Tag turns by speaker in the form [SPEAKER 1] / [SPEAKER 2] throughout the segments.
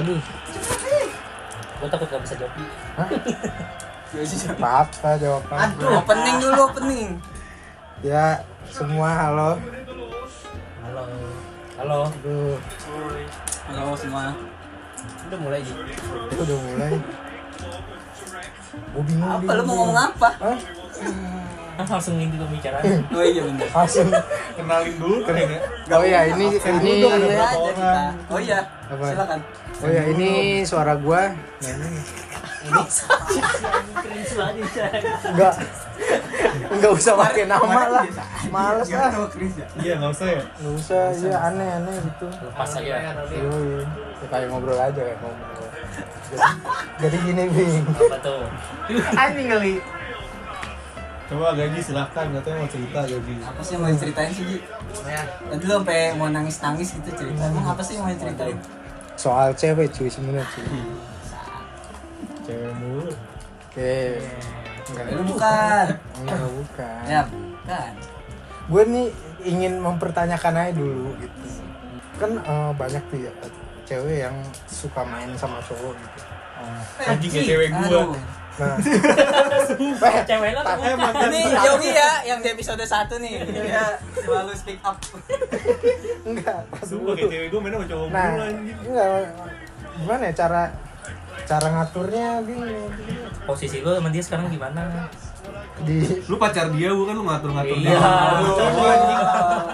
[SPEAKER 1] Aduh,
[SPEAKER 2] Gue takut gak bisa jawab.
[SPEAKER 1] hah?
[SPEAKER 3] Ya sih.
[SPEAKER 1] Apa jawaban?
[SPEAKER 3] Aduh, opening dulu opening.
[SPEAKER 1] Ya, semua halo.
[SPEAKER 2] Halo. Halo.
[SPEAKER 1] Aduh,
[SPEAKER 3] Halo semua.
[SPEAKER 2] Udah mulai gitu.
[SPEAKER 1] itu udah mulai. Gue bingung.
[SPEAKER 3] Apa
[SPEAKER 1] bingung,
[SPEAKER 3] lu mau
[SPEAKER 1] bingung.
[SPEAKER 3] ngomong apa?
[SPEAKER 1] Hah?
[SPEAKER 2] Kan langsung ini pembicaraan.
[SPEAKER 3] Oh iya bener.
[SPEAKER 1] Langsung.
[SPEAKER 4] kenalin dulu kan ya
[SPEAKER 1] Oh ya, ini ini
[SPEAKER 3] Ini ada aja kita.
[SPEAKER 4] orang.
[SPEAKER 3] Oh iya.
[SPEAKER 1] Apa?
[SPEAKER 3] Silakan.
[SPEAKER 1] Oh ya, ini suara gua. Nah, ini.
[SPEAKER 2] Cringe banget.
[SPEAKER 1] Enggak. Enggak usah pakai nama lah. Males
[SPEAKER 3] Gimana
[SPEAKER 1] lah.
[SPEAKER 3] sama Chris ya?
[SPEAKER 4] iya nggak usah ya
[SPEAKER 1] Enggak usah, iya aneh-aneh gitu.
[SPEAKER 2] Lepas aja.
[SPEAKER 1] Iya, iya. Ya, kayak ngobrol aja kayak ngobrol. Jadi, jadi gini, Bing.
[SPEAKER 2] Apa tuh?
[SPEAKER 1] Anjing kali.
[SPEAKER 4] coba gaji silahkan katanya mau cerita gaji
[SPEAKER 3] Apa sih yang mau diceritain sih Ji? Tadi lu sampai mau nangis nangis gitu cerita. Emang apa sih yang mau diceritain?
[SPEAKER 1] Soal cewek cuy sebenarnya cuy.
[SPEAKER 4] cewek mulu
[SPEAKER 1] Oke. Enggak,
[SPEAKER 3] Ya, Lu bukan.
[SPEAKER 1] enggak bukan.
[SPEAKER 3] Ya bukan.
[SPEAKER 1] Gue nih ingin mempertanyakan aja dulu gitu. Kan eh, banyak tuh ya cewek yang suka main sama cowok gitu.
[SPEAKER 4] Anjing,
[SPEAKER 3] Kan Ji.
[SPEAKER 4] ya cewek gua.
[SPEAKER 3] Aduh.
[SPEAKER 1] Nah,
[SPEAKER 2] Cewek lo tuh
[SPEAKER 4] eh mantan
[SPEAKER 3] Ini Yogi ya yang di episode 1 nih. Dia selalu speak up.
[SPEAKER 1] enggak. pas dulu.
[SPEAKER 4] sumpah kayak cewek gua mainnya sama cowok
[SPEAKER 1] Nah,
[SPEAKER 4] mulu ya? anjing
[SPEAKER 1] enggak gimana ya cara cara ngaturnya Bing?
[SPEAKER 2] posisi lo sama dia sekarang gimana?
[SPEAKER 1] di
[SPEAKER 4] lu pacar dia bukan lu ngatur ngatur
[SPEAKER 2] Iya.
[SPEAKER 3] Oh,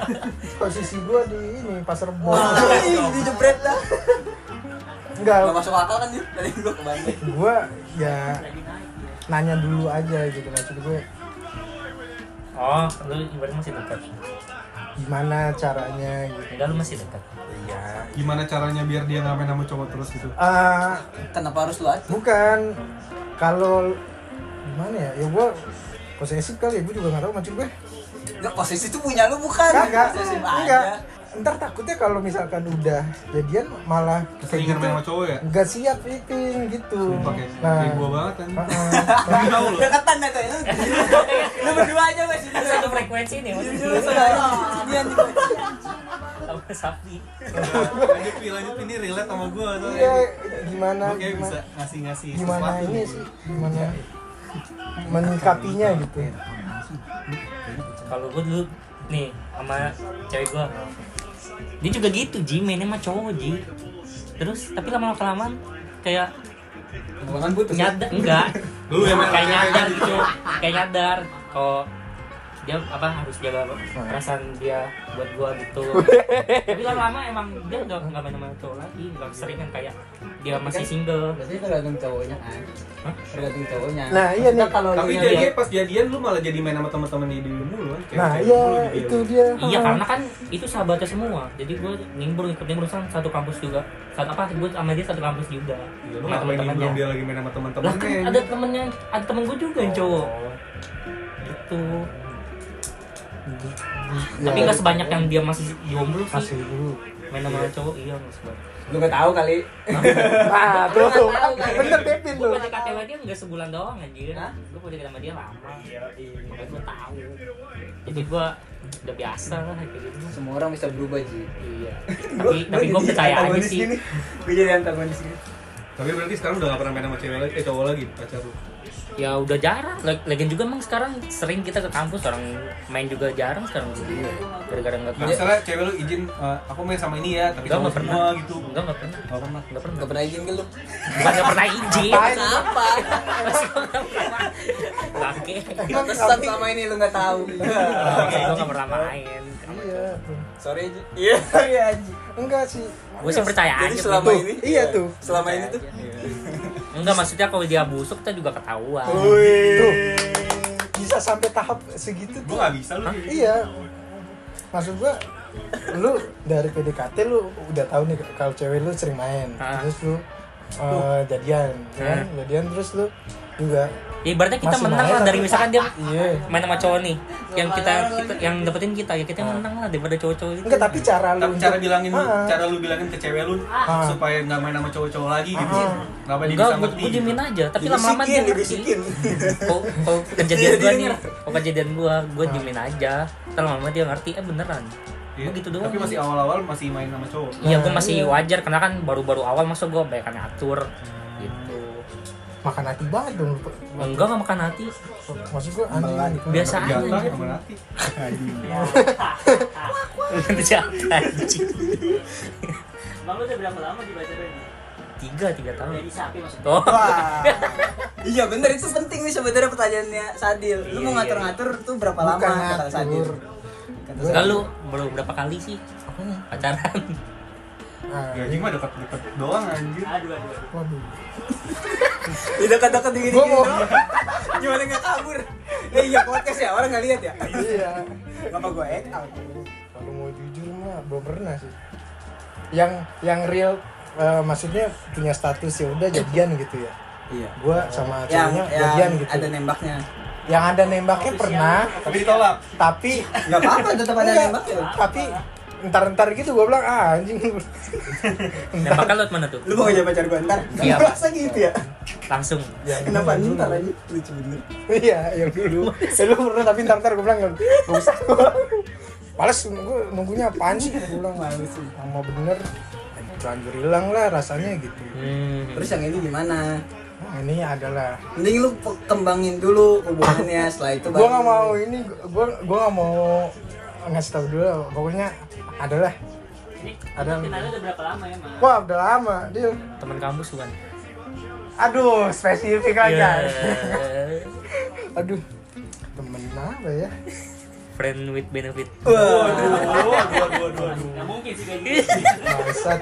[SPEAKER 1] posisi gua di ini pasar bol
[SPEAKER 3] Ih, dijebret dah. Gak
[SPEAKER 1] enggak
[SPEAKER 3] masuk akal kan Ji? Tadi gua kebanyakan.
[SPEAKER 1] gua ya nanya dulu aja gitu maksud gue
[SPEAKER 2] Oh, lu ibaratnya masih dekat.
[SPEAKER 1] gimana caranya gitu
[SPEAKER 2] Enggak, lu masih dekat.
[SPEAKER 1] ya
[SPEAKER 4] gimana caranya biar dia nggak main sama cowok terus gitu
[SPEAKER 1] Eh,
[SPEAKER 3] Kenapa harus lu aja?
[SPEAKER 1] bukan kalau gimana ya ya gua posesif kali ya gue juga nggak tahu maksud gue
[SPEAKER 3] Enggak, posisi itu punya lu bukan.
[SPEAKER 1] kagak
[SPEAKER 3] Posesif aja.
[SPEAKER 1] enggak ntar takutnya kalau misalkan udah jadian malah kayak gitu.
[SPEAKER 4] keseringan main sama cowok ya
[SPEAKER 1] nggak siap fitting gitu
[SPEAKER 4] sumpah kayak
[SPEAKER 1] nah
[SPEAKER 4] kayak gua banget anjing
[SPEAKER 1] heeh.
[SPEAKER 4] tapi tau lu
[SPEAKER 3] Deketan dah Iya. kayak lu. Lu berdua aja Mas. Ini
[SPEAKER 2] Satu frekuensi nih, masih
[SPEAKER 3] Jujur sama dia nih.
[SPEAKER 2] sama sapi.
[SPEAKER 4] lanjut Pi, lanjut Pi. ini relate sama gua soalnya
[SPEAKER 1] iya gimana
[SPEAKER 4] gua kayak
[SPEAKER 1] gimana,
[SPEAKER 4] bisa gitu. ngasih ngasih
[SPEAKER 1] gimana ini sih gimana ya? menyikapinya gitu
[SPEAKER 4] Iya.
[SPEAKER 2] Kalau gue dulu nih sama cewek gue, dia juga gitu Ji, mainnya sama cowok Ji. Terus tapi lama-lama kelamaan kayak
[SPEAKER 3] Bukan putus.
[SPEAKER 2] nyadar enggak
[SPEAKER 4] Lu yang main
[SPEAKER 2] kayak
[SPEAKER 4] sama cewek
[SPEAKER 2] nyadar
[SPEAKER 4] tadi,
[SPEAKER 2] gitu kayak nyadar kalau dia apa harus jaga
[SPEAKER 4] Hmm.
[SPEAKER 2] perasaan dia buat gua gitu tapi lama-lama emang dia udah nggak main sama cowok lagi nggak sering kan kayak dia masih
[SPEAKER 4] Kan
[SPEAKER 2] single
[SPEAKER 3] Berarti tergantung cowoknya kan.
[SPEAKER 2] Hah?
[SPEAKER 3] Tergantung cowoknya.
[SPEAKER 1] nah iya nih
[SPEAKER 3] kalau
[SPEAKER 4] tapi
[SPEAKER 3] lu
[SPEAKER 4] jadi
[SPEAKER 3] nyadar-
[SPEAKER 4] pas jadian lu malah jadi main sama teman-teman di dulu mulu kan
[SPEAKER 1] nah
[SPEAKER 4] Cewek-cewek
[SPEAKER 1] iya
[SPEAKER 4] mulu di
[SPEAKER 1] itu
[SPEAKER 4] dulu.
[SPEAKER 1] dia
[SPEAKER 2] iya karena kan itu sahabatnya semua jadi gua nimbrung ikut nimbrung sama satu kampus juga satu apa gua sama dia satu kampus juga
[SPEAKER 4] Iya, lu
[SPEAKER 2] Sama
[SPEAKER 4] nggak mainin
[SPEAKER 2] temen-temennya.
[SPEAKER 4] belum dia lagi main
[SPEAKER 2] lah
[SPEAKER 4] sama
[SPEAKER 2] kan
[SPEAKER 4] teman-temannya gitu.
[SPEAKER 2] ada temennya ada temen gua juga yang cowok
[SPEAKER 4] Oh.
[SPEAKER 2] gitu
[SPEAKER 4] Iya.
[SPEAKER 2] tapi nggak sebanyak yang dia masih jomblo sih
[SPEAKER 1] kasih dulu
[SPEAKER 2] main sama cowok iya nggak sebanyak
[SPEAKER 3] Lu gak tahu kali.
[SPEAKER 1] nah tuh
[SPEAKER 3] tahu, kan?
[SPEAKER 1] bener Kevin
[SPEAKER 2] gue
[SPEAKER 1] tuh
[SPEAKER 2] PDKT sama dia nggak sebulan doang anjir
[SPEAKER 3] Hah? Iya,
[SPEAKER 2] gue PDKT sama dia lama makanya gue tahu jadi gue udah biasa lah kayak gitu
[SPEAKER 3] Semua orang bisa berubah Ji.
[SPEAKER 2] iya tapi tapi gue percaya aja sih
[SPEAKER 3] Gue jadi antagonis gini.
[SPEAKER 4] Tapi berarti sekarang udah gak pernah main sama cewek lagi, eh cowok lagi pacar lu. Nah,
[SPEAKER 2] ya udah jarang Lag- lagian juga emang sekarang sering kita ke kampus orang main juga jarang sekarang juga gara-gara nggak
[SPEAKER 4] Nah,
[SPEAKER 2] pernah
[SPEAKER 4] misalnya cewek lu izin, eh, aku main sama ini ya,
[SPEAKER 2] Enggak,
[SPEAKER 4] tapi cowok
[SPEAKER 2] nggak pernah
[SPEAKER 4] semua gitu.
[SPEAKER 2] Enggak, nggak pernah Nggak pernah Nggak pernah
[SPEAKER 3] Gak pernah izin ke lu.
[SPEAKER 2] Bukan nggak pernah izin
[SPEAKER 3] Kenapa?
[SPEAKER 2] Bangke
[SPEAKER 3] Kesan sama ini lu gak tahu.
[SPEAKER 2] Gue nggak pernah main
[SPEAKER 1] iya tuh.
[SPEAKER 3] Sorry Ji. Iya, iya Ji.
[SPEAKER 1] enggak sih
[SPEAKER 2] Gue sih percaya aja
[SPEAKER 3] Jadi
[SPEAKER 2] sih.
[SPEAKER 3] selama
[SPEAKER 1] tuh
[SPEAKER 3] ini?
[SPEAKER 1] iya tuh
[SPEAKER 3] Selama ini tuh.
[SPEAKER 2] Enggak maksudnya kalau dia busuk kita juga ketahuan
[SPEAKER 3] Oh,
[SPEAKER 1] tuh bisa sampai tahap segitu
[SPEAKER 4] Gua
[SPEAKER 1] tuh
[SPEAKER 4] gak bisa lu. kayak gitu.
[SPEAKER 1] Iya. Maksud gua lu dari PDKT lu udah tahu nih kalau cewek lu sering main.
[SPEAKER 2] Ah.
[SPEAKER 1] Terus lu eh, jadian, kan? Jadian terus lu juga
[SPEAKER 2] Ya ibaratnya kita
[SPEAKER 1] Masih
[SPEAKER 2] menang
[SPEAKER 1] main
[SPEAKER 2] lah dari
[SPEAKER 1] tapi-
[SPEAKER 2] misalkan dia
[SPEAKER 1] iya.
[SPEAKER 2] main sama cowok nih yang kita, kita yang dapetin kita ya kita yang menang lah daripada cowok-cowok itu.
[SPEAKER 1] Ah. Enggak, tapi cara lu
[SPEAKER 4] Tapi cara
[SPEAKER 1] untuk-
[SPEAKER 4] bilangin lu,
[SPEAKER 1] Ah.
[SPEAKER 4] cara lu bilangin ke cewek lu
[SPEAKER 1] Ah.
[SPEAKER 4] supaya nggak main sama cowok-cowok lagi gitu. Kenapa dia
[SPEAKER 2] Enggak,
[SPEAKER 4] bisa
[SPEAKER 2] gue,
[SPEAKER 4] ngerti? gitu.
[SPEAKER 2] gue diemin aja, tapi lama-lama dia ngerti.
[SPEAKER 3] dibisikin.
[SPEAKER 2] Kalau kalau
[SPEAKER 1] Iya,
[SPEAKER 2] kejadian gue nih, kalau kejadian gue, gue diemin aja. Ntar lama-lama dia ngerti, eh beneran.
[SPEAKER 4] Iya.
[SPEAKER 2] begitu doang
[SPEAKER 4] Tapi masih awal-awal masih main sama cowok.
[SPEAKER 2] iya gue masih wajar karena kan baru-baru awal masuk gue banyak atur gitu
[SPEAKER 1] makan hati banget dong lu.
[SPEAKER 2] enggak nggak makan hati
[SPEAKER 1] maksud gue anjing gitu.
[SPEAKER 2] Biasa aja.
[SPEAKER 4] Jatah sama laki. Anjing.
[SPEAKER 2] Jangan, anjing.
[SPEAKER 5] Emang lu udah berapa lama di pacaran?
[SPEAKER 2] tiga tiga tahun
[SPEAKER 5] Jadi sapi
[SPEAKER 2] oh
[SPEAKER 5] maksudnya.
[SPEAKER 3] Wah. iya bener itu penting nih sebenarnya pertanyaannya Sadil. Lu mau
[SPEAKER 2] Iya,
[SPEAKER 3] ngatur-ngatur tuh berapa lama
[SPEAKER 1] Bukan
[SPEAKER 3] kata Sadil?
[SPEAKER 1] ngatur.
[SPEAKER 3] Kata
[SPEAKER 2] enggak
[SPEAKER 3] Sadil.
[SPEAKER 2] kan lu baru berapa kali sih
[SPEAKER 1] Apanya?
[SPEAKER 2] pacaran
[SPEAKER 1] Ah,
[SPEAKER 4] Ya, anjing mah dekat-dekat doang anjir.
[SPEAKER 2] Ah,
[SPEAKER 5] Aduh aduh.
[SPEAKER 1] waduh
[SPEAKER 3] Di dekat-dekat gini gini.
[SPEAKER 1] Gua mau-
[SPEAKER 3] Gimana nggak kabur? Eh, iya podcast ya orang nggak lihat ya.
[SPEAKER 1] iya
[SPEAKER 3] Kenapa gue act out?
[SPEAKER 1] kalau mau jujur mah belum pernah sih yang yang real eh, maksudnya punya status ya udah jadian gitu ya
[SPEAKER 3] Iya.
[SPEAKER 1] gue sama
[SPEAKER 3] Yang,
[SPEAKER 1] ceweknya jadian
[SPEAKER 3] yang
[SPEAKER 1] gitu
[SPEAKER 3] ada nembaknya.
[SPEAKER 1] yang ada nembaknya pernah
[SPEAKER 4] Tapi
[SPEAKER 2] iya.
[SPEAKER 4] ditolak.
[SPEAKER 1] tapi
[SPEAKER 3] Gak apa-apa tetap ada ya?
[SPEAKER 1] Enggak,
[SPEAKER 3] nembaknya.
[SPEAKER 1] tapi entar-entar gitu gue bilang ah anjing
[SPEAKER 2] dan bakal lu mana tuh
[SPEAKER 3] Lu mau ngajak pacar gue ntar?
[SPEAKER 2] Iya.
[SPEAKER 3] Berasa gitu ya?
[SPEAKER 2] langsung
[SPEAKER 1] Yang
[SPEAKER 3] Kenapa
[SPEAKER 1] dulu.
[SPEAKER 3] ntar aja? Lucu bener.
[SPEAKER 1] iya yang dulu eh, lu pernah tapi entar-entar gue bilang gak usah males gue nunggunya apaan sih gue bilang
[SPEAKER 3] Males sih.
[SPEAKER 1] lama bener lanjut hilang lah rasanya gitu
[SPEAKER 2] hmm.
[SPEAKER 3] Terus yang ini gimana?
[SPEAKER 1] nah, ini adalah
[SPEAKER 3] Mending lu pe- kembangin dulu hubungannya setelah itu
[SPEAKER 1] gue nggak mau ini gue gue nggak mau ngasih tau dulu pokoknya adalah
[SPEAKER 5] Ini
[SPEAKER 1] Ada.
[SPEAKER 5] kenalnya udah berapa lama ya, emang?
[SPEAKER 1] wah udah lama dia
[SPEAKER 2] teman kampus bukan
[SPEAKER 1] aduh spesifik
[SPEAKER 5] Iya,
[SPEAKER 1] aja
[SPEAKER 2] Yeah.
[SPEAKER 1] aduh temen apa ya
[SPEAKER 2] friend with benefit
[SPEAKER 4] Waduh, waduh, waduh, waduh.
[SPEAKER 5] Nggak mungkin sih kayak gitu.
[SPEAKER 1] Bangsat.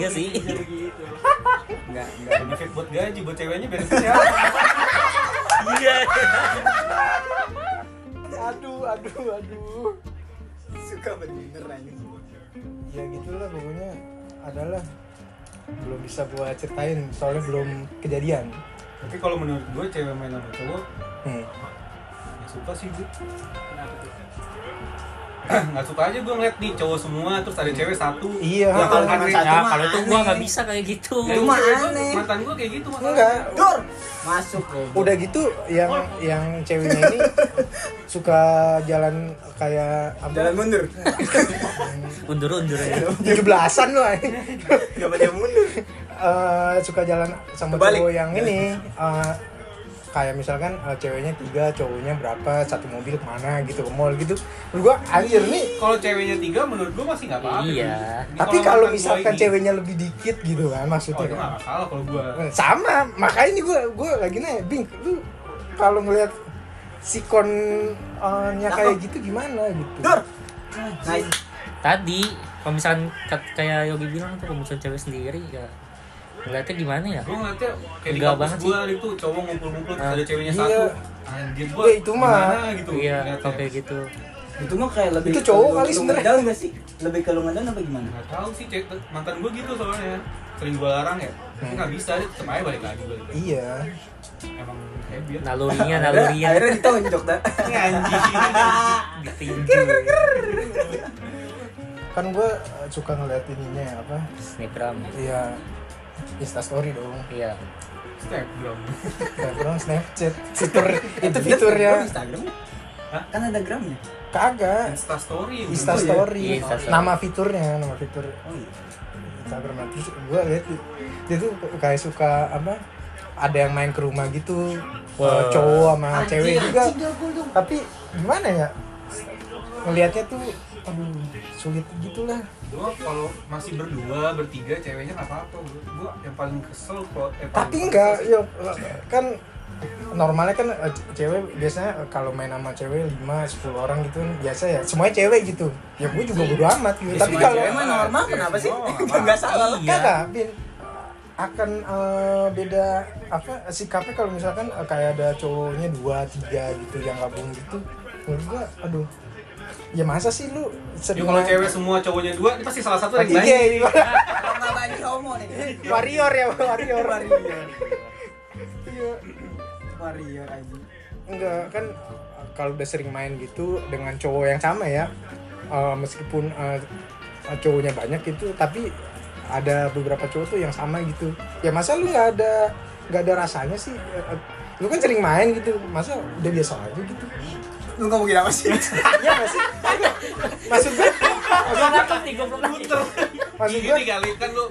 [SPEAKER 2] iya sih
[SPEAKER 5] Bisa begitu.
[SPEAKER 3] Enggak, enggak.
[SPEAKER 4] Benefit buat gaji, buat ceweknya ya. benefitnya.
[SPEAKER 2] iya
[SPEAKER 1] aduh aduh aduh
[SPEAKER 3] Suka bener anjing.
[SPEAKER 1] ya gitulah pokoknya adalah belum bisa gua ceritain soalnya belum kejadian
[SPEAKER 4] Tapi kalau menurut gue cewek main sama cowok
[SPEAKER 1] hmm.
[SPEAKER 4] ya suka sih gue.
[SPEAKER 5] Kenapa tuh?
[SPEAKER 4] Nggak suka aja gue ngeliat nih cowok semua terus ada cewek satu.
[SPEAKER 1] iya
[SPEAKER 4] Ya, kalau
[SPEAKER 1] aneh.
[SPEAKER 4] aneh.
[SPEAKER 3] Satu
[SPEAKER 2] ya
[SPEAKER 3] mah
[SPEAKER 2] kalau itu gua
[SPEAKER 3] aneh.
[SPEAKER 2] nggak bisa kayak gitu
[SPEAKER 4] Ya,
[SPEAKER 3] Itu mah
[SPEAKER 4] cewek gua-
[SPEAKER 3] aneh.
[SPEAKER 4] Mantan gue kayak gitu masalahnya.
[SPEAKER 1] enggak
[SPEAKER 3] Dur. Masuk goblok.
[SPEAKER 1] udah gitu yang yang ceweknya ini suka jalan kayak
[SPEAKER 3] Jalan
[SPEAKER 1] apa
[SPEAKER 3] mundur.
[SPEAKER 2] undur undur ya
[SPEAKER 1] tujuh belasan loh
[SPEAKER 3] Enggak pada mundur.
[SPEAKER 1] Eh, suka jalan sama
[SPEAKER 3] Kebalik. Ya.
[SPEAKER 1] cowok yang ini eh, kayak misalkan eh, ceweknya tiga cowoknya berapa satu mobil kemana gitu ke mall gitu Menurut gua anjir nih
[SPEAKER 4] Kalau ceweknya tiga menurut gue masih nggak apa-apa.
[SPEAKER 2] Iya.
[SPEAKER 4] Ini
[SPEAKER 1] tapi kalau
[SPEAKER 4] mantan gua
[SPEAKER 1] misalkan
[SPEAKER 4] ini-
[SPEAKER 1] ceweknya lebih dikit gitu kan
[SPEAKER 4] Oh,
[SPEAKER 1] maksudnya
[SPEAKER 4] itu
[SPEAKER 1] kan.
[SPEAKER 4] nggak masalah kalau gue.
[SPEAKER 1] sama makanya ini gue gue lagi nanya bing lu kalau ngelihat sikonnya kayak gitu gimana gitu
[SPEAKER 3] Dur. Nice.
[SPEAKER 2] tadi kalau misalkan kat- kayak Yogi bilang tuh kalau misalkan cewek sendiri ya ngeliatnya gimana ya
[SPEAKER 4] Gue ngeliatnya kayak di
[SPEAKER 2] Enggak
[SPEAKER 4] kampus
[SPEAKER 2] banget
[SPEAKER 4] gue itu cowok ngumpul-ngumpul terus ada ceweknya
[SPEAKER 1] Iya.
[SPEAKER 4] satu. Anjir gue.
[SPEAKER 1] Ya, itu mah.
[SPEAKER 4] gitu.
[SPEAKER 2] iya
[SPEAKER 4] ngeliatnya.
[SPEAKER 2] kalau kayak gitu
[SPEAKER 3] Itu mah kayak lebih
[SPEAKER 1] Itu cowok
[SPEAKER 3] ke
[SPEAKER 1] kali
[SPEAKER 3] lu- lu
[SPEAKER 1] sebenarnya.
[SPEAKER 3] ngedown nggak sih? Lebih ke lu ngedown apa gimana?
[SPEAKER 4] Nggak tahu sih cek mantan gue gitu soalnya. Sering gue larang ya. Tapi
[SPEAKER 1] Hmm.
[SPEAKER 4] nggak bisa dia tetep aja balik lagi balik lagi.
[SPEAKER 1] iya
[SPEAKER 4] Emang habit.
[SPEAKER 2] nalurinya
[SPEAKER 3] Akhirnya-
[SPEAKER 2] nalurinya
[SPEAKER 3] Akhirnya ditonjok dah.
[SPEAKER 2] ditinju
[SPEAKER 1] kan gue suka ngeliat ininya apa
[SPEAKER 2] snapgram
[SPEAKER 1] iya instastory dong
[SPEAKER 2] iya
[SPEAKER 4] Step dong.
[SPEAKER 1] Gak bilang Snapchat fitur itu fiturnya
[SPEAKER 3] Instagram.
[SPEAKER 4] Hah?
[SPEAKER 3] Kan ada gramnya.
[SPEAKER 1] kagak
[SPEAKER 4] Insta story.
[SPEAKER 1] Insta
[SPEAKER 2] Iya,
[SPEAKER 1] Story
[SPEAKER 2] Instastory.
[SPEAKER 1] nama fiturnya nama fitur
[SPEAKER 3] Oh iya.
[SPEAKER 1] Instagram Nah, terus gue liat dia tuh kayak suka apa ada yang main ke rumah gitu
[SPEAKER 2] Wah.
[SPEAKER 1] eh, cowok sama cewek juga
[SPEAKER 3] Iya, Anjing, double dong.
[SPEAKER 1] tapi gimana ya ngelihatnya tuh aduh sulit gitulah
[SPEAKER 4] Gue kalau masih berdua bertiga ceweknya nggak apa-apa. Gue yang paling kesel kok. Eh, paling
[SPEAKER 1] tapi enggak ya kan normalnya kan eh, cewek biasanya kalau main sama cewek 5 10 orang gitu kan biasa ya semuanya cewek gitu ya gue
[SPEAKER 3] Iya.
[SPEAKER 1] juga bodo amat gitu
[SPEAKER 4] Ya,
[SPEAKER 1] tapi
[SPEAKER 4] semua
[SPEAKER 1] kalau
[SPEAKER 4] cewek
[SPEAKER 3] Emang normal
[SPEAKER 4] Iya,
[SPEAKER 3] kenapa sih?
[SPEAKER 4] semua normal.
[SPEAKER 3] Enggak salah. kan?
[SPEAKER 2] Iya.
[SPEAKER 1] kagak bin akan eh, beda apa sikapnya kalau misalkan eh, kayak ada cowoknya dua tiga gitu yang gabung gitu menurut gua aduh ya masa sih lu
[SPEAKER 4] Ya
[SPEAKER 1] sedih
[SPEAKER 4] kalau cewek semua cowoknya dua, ini pasti salah satu yang
[SPEAKER 1] tiga
[SPEAKER 4] lain.
[SPEAKER 1] ini
[SPEAKER 3] Karena banyak homo nih.
[SPEAKER 1] iya. warrior ya warrior
[SPEAKER 3] Warrior.
[SPEAKER 1] Iya.
[SPEAKER 3] Warrior aja.
[SPEAKER 1] enggak kan eh, kalau udah sering main gitu dengan cowok yang sama ya eh, meskipun eh, cowoknya banyak gitu tapi ada beberapa cowok tuh yang sama gitu ya masa lu nggak ada nggak ada rasanya sih Eh, eh, lu kan sering main gitu masa udah biasa aja gitu
[SPEAKER 3] Lu ngomongin apa sih?
[SPEAKER 1] iya nggak sih maksud gue maksud
[SPEAKER 4] Gini
[SPEAKER 1] gua
[SPEAKER 4] nih kali kan lu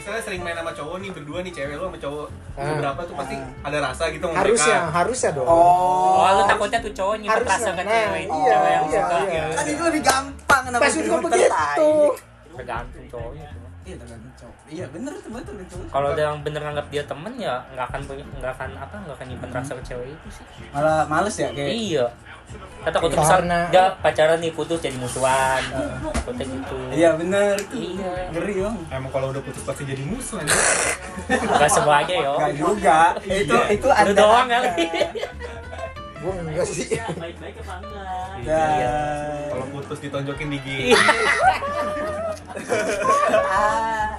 [SPEAKER 4] misalnya sering main sama cowok nih berdua nih cewek lu sama cowok
[SPEAKER 1] Ah.
[SPEAKER 4] beberapa tuh pasti
[SPEAKER 3] Ah.
[SPEAKER 4] ada rasa gitu sama
[SPEAKER 1] harusnya
[SPEAKER 4] mereka.
[SPEAKER 1] harusnya dong
[SPEAKER 3] Oh,
[SPEAKER 2] Oh, lu takutnya tuh cowok nyimpen
[SPEAKER 1] Harusnya,
[SPEAKER 2] rasa ke
[SPEAKER 1] nah,
[SPEAKER 2] cewek
[SPEAKER 1] iya,
[SPEAKER 2] cewek yang
[SPEAKER 1] iya,
[SPEAKER 2] suka
[SPEAKER 1] iya.
[SPEAKER 2] gitu.
[SPEAKER 3] kan itu lebih gampang kenapa
[SPEAKER 1] maksud gua
[SPEAKER 3] ribut
[SPEAKER 1] begitu
[SPEAKER 3] tertarik?
[SPEAKER 2] Tergantung cowoknya.
[SPEAKER 3] Iya tergantung cowok. Iya bener tuh betul betul.
[SPEAKER 2] Kalau ada yang bener nganggap dia temen ya nggak akan punya nggak akan apa nggak akan nyimpen rasa ke cewek itu sih.
[SPEAKER 3] Malah males ya kayak.
[SPEAKER 2] Iya. Kata takut besar
[SPEAKER 1] Karena-
[SPEAKER 2] dia pacaran nih putus jadi musuhan. Takutnya gitu.
[SPEAKER 3] Iya bener tuh.
[SPEAKER 2] Iya.
[SPEAKER 3] Ngeri dong.
[SPEAKER 1] ya.
[SPEAKER 4] Emang kalau udah putus pasti jadi musuh aja.
[SPEAKER 2] Gak semuanya yo.
[SPEAKER 3] Gak juga. Itu
[SPEAKER 4] Iya.
[SPEAKER 3] itu
[SPEAKER 2] Lu
[SPEAKER 3] ada.
[SPEAKER 2] doang kali.
[SPEAKER 1] gua enggak sih
[SPEAKER 5] Iya, baik-baik apa enggak?
[SPEAKER 3] Ya.
[SPEAKER 4] Kalau putus ditonjokin gigi.
[SPEAKER 3] Ah.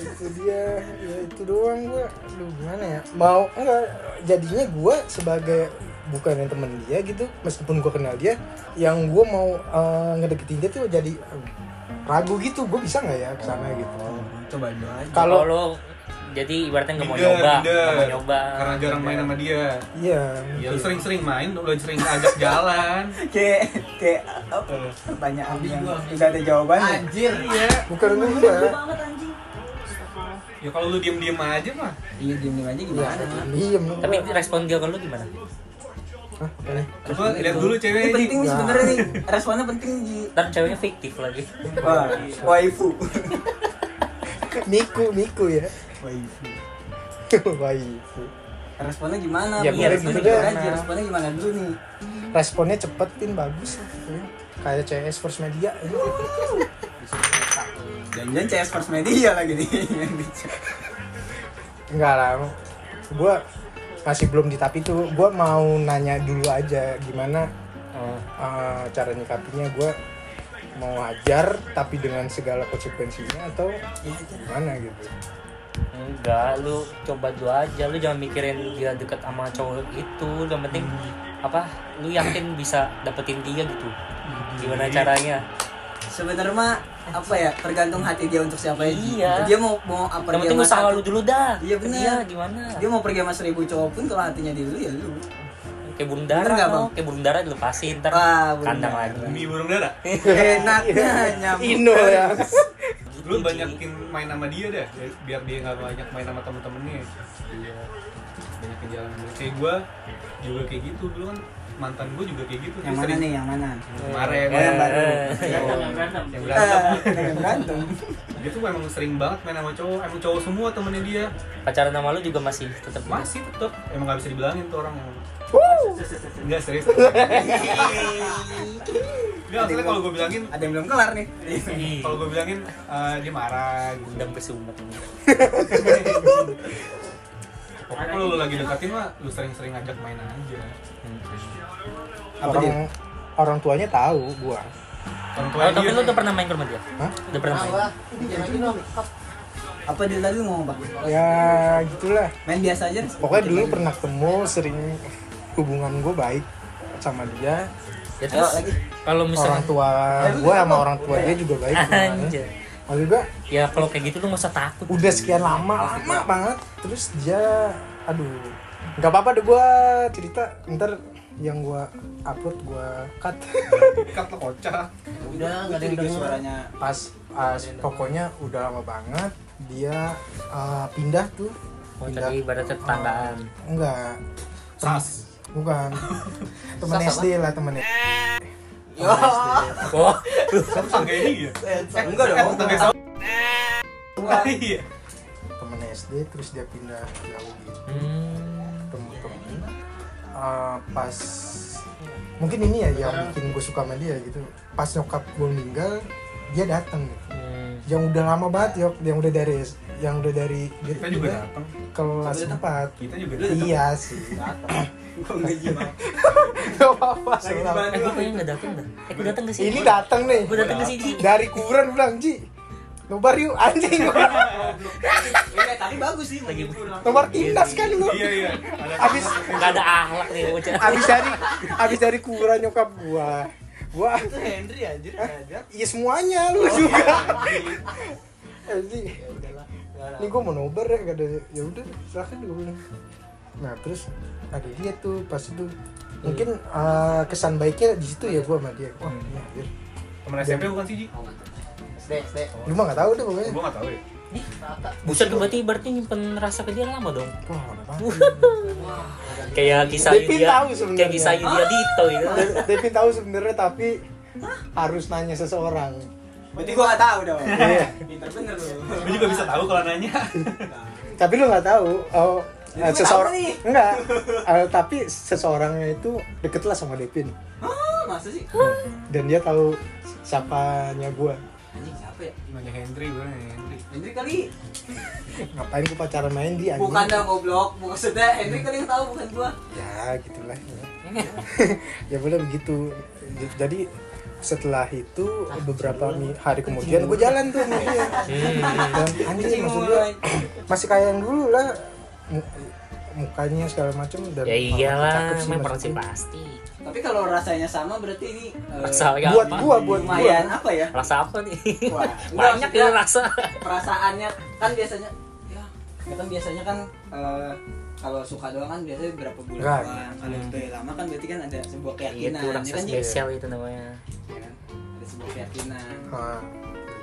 [SPEAKER 1] itu dia ya itu doang gua aduh gimana ya mau enggak jadinya gua sebagai bukan yang temen dia gitu meskipun gua kenal dia yang gua mau eh, ngedeketin dia tuh jadi eh, ragu gitu gua bisa nggak ya kesana gitu
[SPEAKER 3] Coba dulu aja.
[SPEAKER 2] Kalau
[SPEAKER 1] Kalau-
[SPEAKER 2] lu jadi ibaratnya nggak mau
[SPEAKER 4] Minder,
[SPEAKER 2] nyoba,
[SPEAKER 4] minder.
[SPEAKER 2] nggak mau nyoba.
[SPEAKER 4] Karena jarang main sama dia.
[SPEAKER 1] iya
[SPEAKER 4] Ya lu sering-sering main, lu sering ajak jalan.
[SPEAKER 3] Kayak kayak apa? Pertanyaan yang udah ada jawabannya.
[SPEAKER 6] Anjir.
[SPEAKER 1] bukan
[SPEAKER 5] Gua
[SPEAKER 1] enggak
[SPEAKER 5] banget anjing.
[SPEAKER 4] Ya kalau lu diem-diem aja mah.
[SPEAKER 3] Iya diem aja
[SPEAKER 1] ya
[SPEAKER 3] gimana?
[SPEAKER 1] diem gua.
[SPEAKER 2] Tapi respon dia ke lu gimana?
[SPEAKER 1] Hah, apa nih?
[SPEAKER 4] Coba lihat dulu
[SPEAKER 3] Ini
[SPEAKER 4] cewek
[SPEAKER 3] penting
[SPEAKER 4] ini.
[SPEAKER 3] nih
[SPEAKER 1] Nah.
[SPEAKER 3] sebenarnya nih. Responnya penting Ji.
[SPEAKER 2] Ntar ceweknya fiktif lagi.
[SPEAKER 3] Wah, waifu.
[SPEAKER 1] Miku, Miku ya.
[SPEAKER 3] Waifu.
[SPEAKER 1] Waifu.
[SPEAKER 3] Responnya gimana?
[SPEAKER 1] Ya,
[SPEAKER 3] Iya,
[SPEAKER 1] boleh
[SPEAKER 3] responnya
[SPEAKER 1] gitu deh.
[SPEAKER 3] gimana? Ji? Responnya gimana dulu nih?
[SPEAKER 1] Responnya cepet, Tin. Bagus. lah. Ya. Kayak CS First Media. ya.
[SPEAKER 3] Jangan-jangan CS First Media lagi nih. yang dicek.
[SPEAKER 1] Enggak lah. Gue masih belum di tapi tuh. Gue mau nanya dulu aja gimana eh, cara nyikapinya. Gue mau ajar tapi dengan segala konsekuensinya atau gimana gitu.
[SPEAKER 2] Enggak, lu coba dulu aja, lu jangan mikirin dia deket sama cowok itu, yang penting
[SPEAKER 3] Hmm.
[SPEAKER 2] apa, lu yakin bisa dapetin dia gitu,
[SPEAKER 3] Hmm.
[SPEAKER 2] gimana caranya?
[SPEAKER 3] Sebenarnya mah apa ya? Tergantung hati dia untuk siapa ya. Ji.
[SPEAKER 2] Iya.
[SPEAKER 3] Dia mau mau apa
[SPEAKER 2] Yang
[SPEAKER 3] dia
[SPEAKER 2] penting
[SPEAKER 3] mau
[SPEAKER 2] usaha lu dulu dah.
[SPEAKER 3] Iya, bener.
[SPEAKER 2] Iya, gimana?
[SPEAKER 3] dia mau pergi sama seribu cowok pun kalau hatinya dia dulu ya lu
[SPEAKER 2] Kayak burung
[SPEAKER 3] Bener
[SPEAKER 2] dara,
[SPEAKER 3] nggak,
[SPEAKER 2] no.
[SPEAKER 3] Bang?
[SPEAKER 2] kayak burung dara dilepasin, ntar
[SPEAKER 3] Wah, burung
[SPEAKER 2] kandang
[SPEAKER 3] dara.
[SPEAKER 2] lagi.
[SPEAKER 4] Mie burung dara.
[SPEAKER 3] Eh, Iya. enaknya nyambung
[SPEAKER 1] Ino ya.
[SPEAKER 4] Lu banyakin main sama dia dah. Biar dia nggak banyak main sama temen-temennya. Iya. Banyakin jalan dulu. Kayak gue juga kayak gitu dulu kan mantan gue juga kayak gitu.
[SPEAKER 3] yang
[SPEAKER 4] Dia
[SPEAKER 3] mana
[SPEAKER 4] sering-
[SPEAKER 3] nih yang mana Iya,
[SPEAKER 4] Kemarin,
[SPEAKER 2] Eh,
[SPEAKER 4] yang baru.
[SPEAKER 5] Berantem, yang berantem.
[SPEAKER 4] Yang berantem.
[SPEAKER 3] Eh, yang berantem
[SPEAKER 4] Dia tuh emang sering banget main sama cowok. Emang cowok semua temennya dia.
[SPEAKER 2] Pacaran sama lu juga masih tetap
[SPEAKER 4] Masih tetep. Emang nggak bisa dibilangin tuh orang. Enggak serius. Enggak, maksudnya kalau gue bilangin,
[SPEAKER 3] ada yang belum kelar nih
[SPEAKER 4] kalau gue bilangin eh, dia marah gitu.
[SPEAKER 2] Dendam ke si umat ini.
[SPEAKER 4] Pokoknya kalau lu lagi deketin mah lu sering-sering ajak main aja.
[SPEAKER 3] Apa
[SPEAKER 1] Orang
[SPEAKER 3] dia?
[SPEAKER 1] orang tuanya tahu gue.
[SPEAKER 4] Orang tua
[SPEAKER 2] Oh, tapi
[SPEAKER 3] iya.
[SPEAKER 4] dia
[SPEAKER 2] lu udah pernah main ke rumah dia?
[SPEAKER 1] Hah?
[SPEAKER 2] Udah pernah main?
[SPEAKER 6] Awas, jangan lagi dong.
[SPEAKER 3] apa dia tadi mau bak
[SPEAKER 1] Ya gitulah.
[SPEAKER 3] iya. main biasa aja
[SPEAKER 1] Pokoknya dulu pernah ketemu, sering hubungan gue baik sama dia.
[SPEAKER 2] Ya terus,
[SPEAKER 3] lagi.
[SPEAKER 2] kalau
[SPEAKER 1] Orang
[SPEAKER 2] misalnya
[SPEAKER 1] tua gue sama orang tua dia juga baik. hubungannya.
[SPEAKER 2] Anjir.
[SPEAKER 1] Maksud gue
[SPEAKER 2] Ya kalau kayak gitu lu nggak usah takut.
[SPEAKER 3] Uh,
[SPEAKER 1] udah sekian lama, lama banget. Terus dia, aduh, nggak apa-apa deh gue cerita. Ntar yang gue upload gue cut.
[SPEAKER 4] dekat lah kocak.
[SPEAKER 6] Udah, enggak ada yang
[SPEAKER 3] dengar
[SPEAKER 6] denger.
[SPEAKER 3] suaranya
[SPEAKER 1] Pas, pas pokoknya udah lama banget dia eh, pindah tuh.
[SPEAKER 2] Oh,
[SPEAKER 1] Pindah.
[SPEAKER 2] tadi ibaratnya tetanggaan.
[SPEAKER 1] Enggak,
[SPEAKER 4] Sas.
[SPEAKER 1] bukan. Temen SD lah temen SD.
[SPEAKER 2] Oh,
[SPEAKER 4] Satu tangga ini ya.
[SPEAKER 3] Eh, enggak
[SPEAKER 4] Eh,
[SPEAKER 3] dong
[SPEAKER 4] tangga sama. Iya.
[SPEAKER 1] Temen SD terus dia pindah jauh gitu.
[SPEAKER 2] Hmm.
[SPEAKER 1] temen-temen Eh, pas mungkin ini ya yang bikin gue suka sama dia gitu pas nyokap gue meninggal dia datang gitu.
[SPEAKER 2] Hmm.
[SPEAKER 1] yang udah lama banget yok yang udah dari yang udah dari dia
[SPEAKER 4] Kita
[SPEAKER 1] tuh
[SPEAKER 4] juga
[SPEAKER 1] pindah
[SPEAKER 4] datang.
[SPEAKER 1] kelas empat
[SPEAKER 4] Kita juga datang.
[SPEAKER 1] iya sih
[SPEAKER 3] Gua nggak jimat.
[SPEAKER 1] Gak apa-apa
[SPEAKER 3] Lagi di
[SPEAKER 1] Sulam.
[SPEAKER 2] Eh, gue
[SPEAKER 3] Bandung.
[SPEAKER 2] kayaknya nggak dateng dah. Eh, gue dateng ke sini.
[SPEAKER 1] ini datang nih
[SPEAKER 2] Gue dateng ke sini.
[SPEAKER 1] dari kuburan bilang Ji nobar yuk anjing gua.
[SPEAKER 3] Iya, tadi bagus sih lagi
[SPEAKER 1] nobar tindas kan lu
[SPEAKER 4] Iya iya. Ada
[SPEAKER 1] abis
[SPEAKER 2] Gak ada akhlak nih bocah.
[SPEAKER 1] abis dari abis dari kuburan nyokap gua gua
[SPEAKER 3] itu Henry anjir aja
[SPEAKER 1] Iya semuanya lu juga. Jadi ini gue mau nobar ya gak ada ya udah silahkan gue bilang. Nah terus ada dia tuh pas itu mungkin eh, kesan baiknya di situ ya gue sama dia. Wah ini anjir.
[SPEAKER 4] teman SMP bukan sih Ji?
[SPEAKER 6] SD SD
[SPEAKER 1] Lu mah nggak tahu deh pokoknya.
[SPEAKER 4] Gue gak tau ya
[SPEAKER 2] Buset tuh berarti berarti nyimpen rasa ke dia lama dong.
[SPEAKER 1] Wah, kenapa?
[SPEAKER 2] Kayak kisah
[SPEAKER 1] Devin
[SPEAKER 2] Yulia,
[SPEAKER 1] tahu sebenarnya.
[SPEAKER 2] kayak kisah Yulia Dito gitu. itu.
[SPEAKER 1] Devin tahu sebenarnya tapi harus nanya seseorang.
[SPEAKER 3] Berarti gua nggak tahu dong.
[SPEAKER 1] Iya.
[SPEAKER 3] Pinter bener lu.
[SPEAKER 4] Gue juga bisa tahu kalau nanya
[SPEAKER 1] tapi lu nggak tahu. Oh,
[SPEAKER 3] Jadi
[SPEAKER 1] eh,
[SPEAKER 3] gua
[SPEAKER 1] seseorang
[SPEAKER 3] tahu nih.
[SPEAKER 1] enggak. Eh, tapi seseorangnya itu deket lah sama Devin
[SPEAKER 3] Ah, masa sih?
[SPEAKER 1] Nah, dan dia tahu siapanya gua.
[SPEAKER 3] Anjing siapa ya?
[SPEAKER 4] Nanya Hendry, gue nanya Hendry
[SPEAKER 3] Hendrik kali
[SPEAKER 1] Ngapain gua pacaran main dia? anjing?
[SPEAKER 3] bukan dah goblok. Maksudnya Hendrik kali yang tahu bukan gua.
[SPEAKER 1] ya gitulah ya. ya boleh begitu jadi setelah itu
[SPEAKER 3] Ah,
[SPEAKER 1] beberapa mi- hari kemudian gue jalan tuh sama dia
[SPEAKER 3] Hmm.
[SPEAKER 1] Dan anjing
[SPEAKER 3] Anjing
[SPEAKER 1] maksud
[SPEAKER 3] mulu.
[SPEAKER 1] gue masih kayak yang dulu lah Mu- mukanya segala macam dan
[SPEAKER 2] Ya iyalah,
[SPEAKER 1] cakep sih
[SPEAKER 2] memang
[SPEAKER 1] maksud
[SPEAKER 2] sih
[SPEAKER 1] gue.
[SPEAKER 2] pasti.
[SPEAKER 3] Tapi kalau rasanya sama berarti ini eh,
[SPEAKER 2] Rasa agak
[SPEAKER 1] buat
[SPEAKER 2] apa?
[SPEAKER 1] gua buat gua
[SPEAKER 3] lumayan apa ya?
[SPEAKER 2] Rasa apa nih?
[SPEAKER 3] Wah, enggak,
[SPEAKER 2] Banyak
[SPEAKER 3] maksudnya
[SPEAKER 2] ya rasa.
[SPEAKER 3] perasaannya kan biasanya ya kan biasanya kan eh, kalau suka doang kan biasanya berapa bulan
[SPEAKER 1] Enggak.
[SPEAKER 3] doang. Kalau
[SPEAKER 2] Hmm.
[SPEAKER 3] udah lama kan berarti kan ada sebuah
[SPEAKER 2] Iya, Itu
[SPEAKER 3] keyakinan. ya
[SPEAKER 2] rasa
[SPEAKER 3] kan, Ji?
[SPEAKER 2] spesial itu namanya.
[SPEAKER 3] Ya kan? Ada sebuah keyakinan.
[SPEAKER 1] Ah,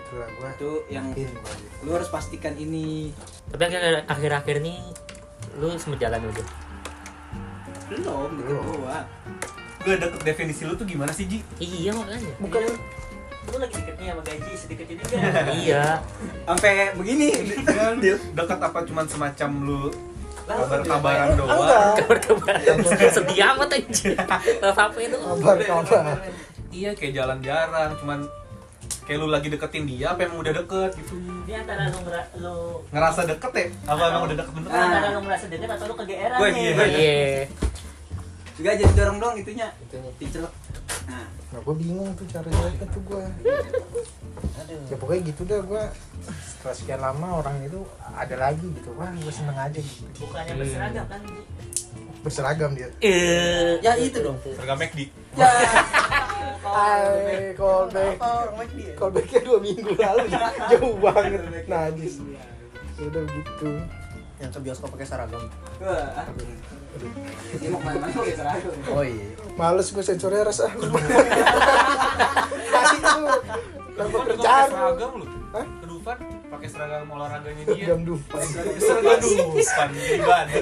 [SPEAKER 1] itulah gua
[SPEAKER 3] Itu yang
[SPEAKER 1] Yakin gua gitu.
[SPEAKER 3] lu harus pastikan ini
[SPEAKER 2] Tapi akhir- akhir-akhir ini lu sempet jalan dulu.
[SPEAKER 3] belum gitu
[SPEAKER 1] Belum.
[SPEAKER 3] gua.
[SPEAKER 4] Gue deket definisi lu tuh gimana sih Ji?
[SPEAKER 2] Iya makanya.
[SPEAKER 1] bukan
[SPEAKER 5] Lu lagi deketnya sama gaji sedikit ini kan?
[SPEAKER 2] Iya.
[SPEAKER 3] Sampai begini.
[SPEAKER 4] Ya, lu deket apa cuman semacam lu kabar-kabaran doang
[SPEAKER 1] enggak
[SPEAKER 2] Kabar-kabar. Sedih amat anjir. Rasa apa itu?
[SPEAKER 1] kabar kabar
[SPEAKER 4] Iya kayak jalan jarang cuman Kayak lu lagi deketin dia apa emang udah deket gitu
[SPEAKER 5] Ini antara lu ngera- lu
[SPEAKER 4] Ngerasa deket ya? Apa emang udah
[SPEAKER 3] Ah.
[SPEAKER 4] deket beneran?
[SPEAKER 5] antara lu merasa deket atau lu kegeeran
[SPEAKER 4] Wah,
[SPEAKER 5] nih.
[SPEAKER 4] iya.
[SPEAKER 2] Iya.
[SPEAKER 3] Juga jadi dorong dong itunya. Dicelok. Nah,
[SPEAKER 1] nah gua bingung tuh cara jalannya tuh gua ya pokoknya gitu dah gua setelah sekian lama orang itu ada lagi gitu wah gua seneng aja gitu
[SPEAKER 5] Bukannya berseragam kan? Ji?
[SPEAKER 1] berseragam dia
[SPEAKER 2] Eh.
[SPEAKER 3] ya itu dong.
[SPEAKER 4] Seragam McD
[SPEAKER 3] Ya.
[SPEAKER 1] Hai, callback callbacknya dua minggu lalu jauh banget najis udah gitu
[SPEAKER 6] yang ke bioskop pakai seragam
[SPEAKER 3] Wah. Ini mau kemana-mana pakai seragam.
[SPEAKER 6] oh iya
[SPEAKER 1] males gue sensornya Ah, rasa kasih tuh lama
[SPEAKER 4] Kedufan juga
[SPEAKER 1] kerjaan
[SPEAKER 4] pakai seragam lu
[SPEAKER 1] Hah?
[SPEAKER 4] Kedufan pakai seragam olahraganya dia
[SPEAKER 1] jam dupa
[SPEAKER 4] Seragam Dufan Jadi banget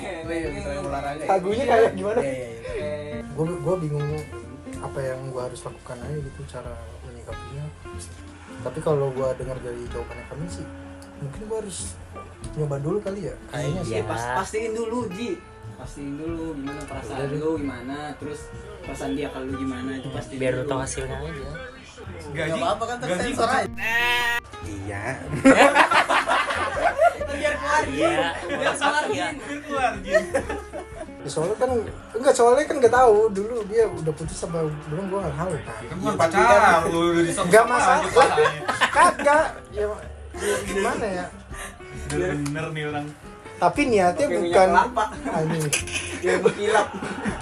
[SPEAKER 3] Oh iya,
[SPEAKER 6] seragam olahraga ya.
[SPEAKER 1] lagunya kayak gimana
[SPEAKER 6] Iya, iya, iya.
[SPEAKER 1] gue gue bingung apa yang gue harus lakukan aja gitu cara menyikapinya tapi kalau gue dengar dari jawabannya kami sih mungkin gue harus nyoba dulu kali ya kayaknya sih
[SPEAKER 2] Iya.
[SPEAKER 3] Pas, pastiin dulu Ji pastiin dulu gimana perasaan lu gimana terus perasaan dia kalau lu gimana itu pasti
[SPEAKER 2] Biar lu tahu hasilnya aja.
[SPEAKER 4] Gaji
[SPEAKER 6] Gak apa-apa kan
[SPEAKER 4] gaji
[SPEAKER 6] tersensor aja
[SPEAKER 1] iya
[SPEAKER 2] Iya. Iya.
[SPEAKER 4] keluar Ji
[SPEAKER 1] Ya, soalnya kan enggak soalnya kan nggak tahu dulu dia udah putus sama belum gue nggak tahu kan
[SPEAKER 4] Kan bukan pacaran, lu udah disok
[SPEAKER 1] Nggak masalah. kagak ya ya gimana ya
[SPEAKER 4] Bener nih orang
[SPEAKER 1] tapi niatnya
[SPEAKER 3] Pakai minyak
[SPEAKER 1] bukan
[SPEAKER 3] kelapa.
[SPEAKER 1] anjing
[SPEAKER 3] ya berkilap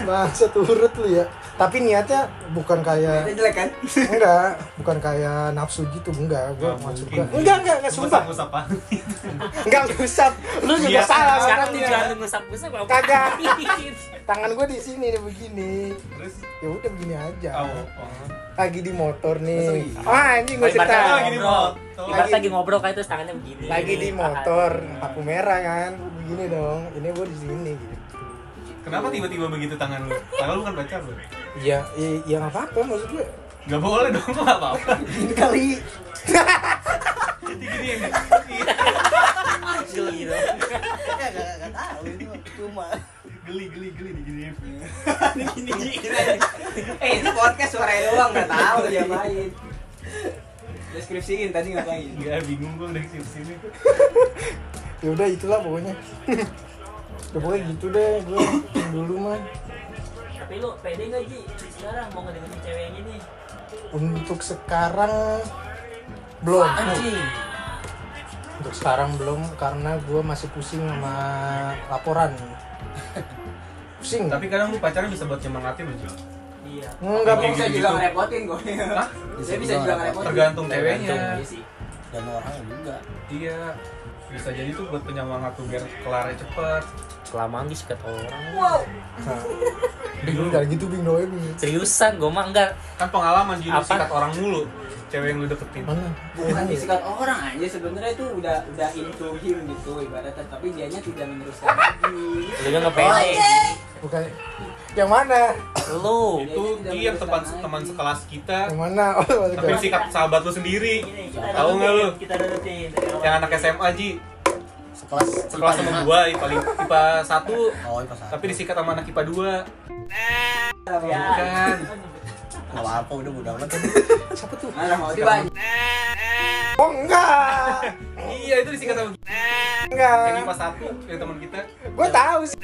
[SPEAKER 1] masa turut lu ya tapi niatnya bukan kayak
[SPEAKER 3] itu jelek kan
[SPEAKER 1] enggak bukan kayak nafsu gitu enggak gue
[SPEAKER 4] Nggak
[SPEAKER 1] maksud
[SPEAKER 4] mungkin.
[SPEAKER 1] gua- enggak enggak enggak sumpah
[SPEAKER 4] Gua sapa
[SPEAKER 1] enggak ngusap lu juga
[SPEAKER 4] Iya.
[SPEAKER 1] salah
[SPEAKER 2] Sekarang
[SPEAKER 1] sekarang
[SPEAKER 2] tujuan lu ngusap-ngusap apa?
[SPEAKER 1] Kagak. tangan gue di sini nih begini
[SPEAKER 4] Terus
[SPEAKER 1] ya udah begini aja
[SPEAKER 4] Oh,
[SPEAKER 1] lagi di motor
[SPEAKER 6] Masa
[SPEAKER 1] nih
[SPEAKER 6] iya?
[SPEAKER 1] ah anjing gue
[SPEAKER 2] Lagi
[SPEAKER 1] cerita
[SPEAKER 2] bareng
[SPEAKER 4] Lagi di motor.
[SPEAKER 2] Ibarat lagi ngobrol kayak terus tangannya begini.
[SPEAKER 1] lagi di motor lampu merah kan begini dong ini gue di sini gitu
[SPEAKER 4] Kenapa tiba-tiba begitu tangan lu? Tangan lu kan pacar lu
[SPEAKER 1] ya ya, ya nggak apa-apa maksud gue
[SPEAKER 4] Gak boleh dong, lu gak apa-apa
[SPEAKER 1] ini kali
[SPEAKER 4] Jadi gini yang
[SPEAKER 6] geli dong ya gak, gak tahu itu cuma
[SPEAKER 4] Geli, geli, geli diginiin
[SPEAKER 3] eh ini podcast suara doang nggak tahu dia main deskripsiin tadi ngapain
[SPEAKER 4] Gak Iya, bingung gua dari sini
[SPEAKER 1] ya udah itulah pokoknya ya pokoknya gitu deh gue dulu mah
[SPEAKER 5] Tapi lu pede gak Ji? Sekarang mau ngedeketin cewek yang ini.
[SPEAKER 1] untuk sekarang belum
[SPEAKER 6] anjing
[SPEAKER 1] untuk sekarang belum karena gue masih pusing sama laporan pusing
[SPEAKER 4] Tapi kadang lu pacarnya bisa buat nyemangatin lu Jo.
[SPEAKER 5] Iya.
[SPEAKER 1] nggak
[SPEAKER 4] Tapi
[SPEAKER 1] mau
[SPEAKER 3] bisa
[SPEAKER 4] gitu.
[SPEAKER 3] juga ngerepotin kok bisa bisa juga ngerepotin
[SPEAKER 4] Tergantung ceweknya
[SPEAKER 5] Iya sih.
[SPEAKER 6] dan orang juga
[SPEAKER 4] Iya bisa jadi tuh buat penyemangat tuh biar kelar cepet
[SPEAKER 2] Kelamaan disikat orang.
[SPEAKER 3] wow
[SPEAKER 1] Nah, bingung kayak gitu bingung doang
[SPEAKER 2] Seriusan, gue mah enggak.
[SPEAKER 4] kan pengalaman jadi
[SPEAKER 2] Apa?
[SPEAKER 4] sikat orang mulu cewek yang lu deketin
[SPEAKER 1] mana
[SPEAKER 3] bukan disikat orang aja sebenarnya itu udah udah into him gitu ibaratnya tapi dianya tidak meneruskan lagi
[SPEAKER 2] Lu udah
[SPEAKER 1] Oh,
[SPEAKER 2] ngepele.
[SPEAKER 1] iya. bukan yang mana
[SPEAKER 2] Lu.
[SPEAKER 4] itu dia yang teman teman sekelas kita
[SPEAKER 1] yang mana oh, maksud
[SPEAKER 4] tapi
[SPEAKER 1] gue.
[SPEAKER 4] sikap sahabat lu sendiri
[SPEAKER 5] Ini, kita
[SPEAKER 4] Tahu nggak lu?
[SPEAKER 5] nurutin, Kita nurutin.
[SPEAKER 4] yang anak SMA Ji
[SPEAKER 6] Sekelas
[SPEAKER 4] sekelas
[SPEAKER 6] IPA
[SPEAKER 4] sama
[SPEAKER 6] lima.
[SPEAKER 4] gua IPA lim- IPA satu
[SPEAKER 6] Oh, IPA satu.
[SPEAKER 4] tapi disikat sama anak IPA dua
[SPEAKER 5] Ya.
[SPEAKER 4] bukan
[SPEAKER 6] Nggak apa-apa udah bodo amat.
[SPEAKER 1] siapa tuh
[SPEAKER 3] malah mau tiba
[SPEAKER 1] oh enggak
[SPEAKER 4] iya itu disikat sama yang
[SPEAKER 1] enggak
[SPEAKER 4] IPA satu yang teman kita
[SPEAKER 1] gue tahu sih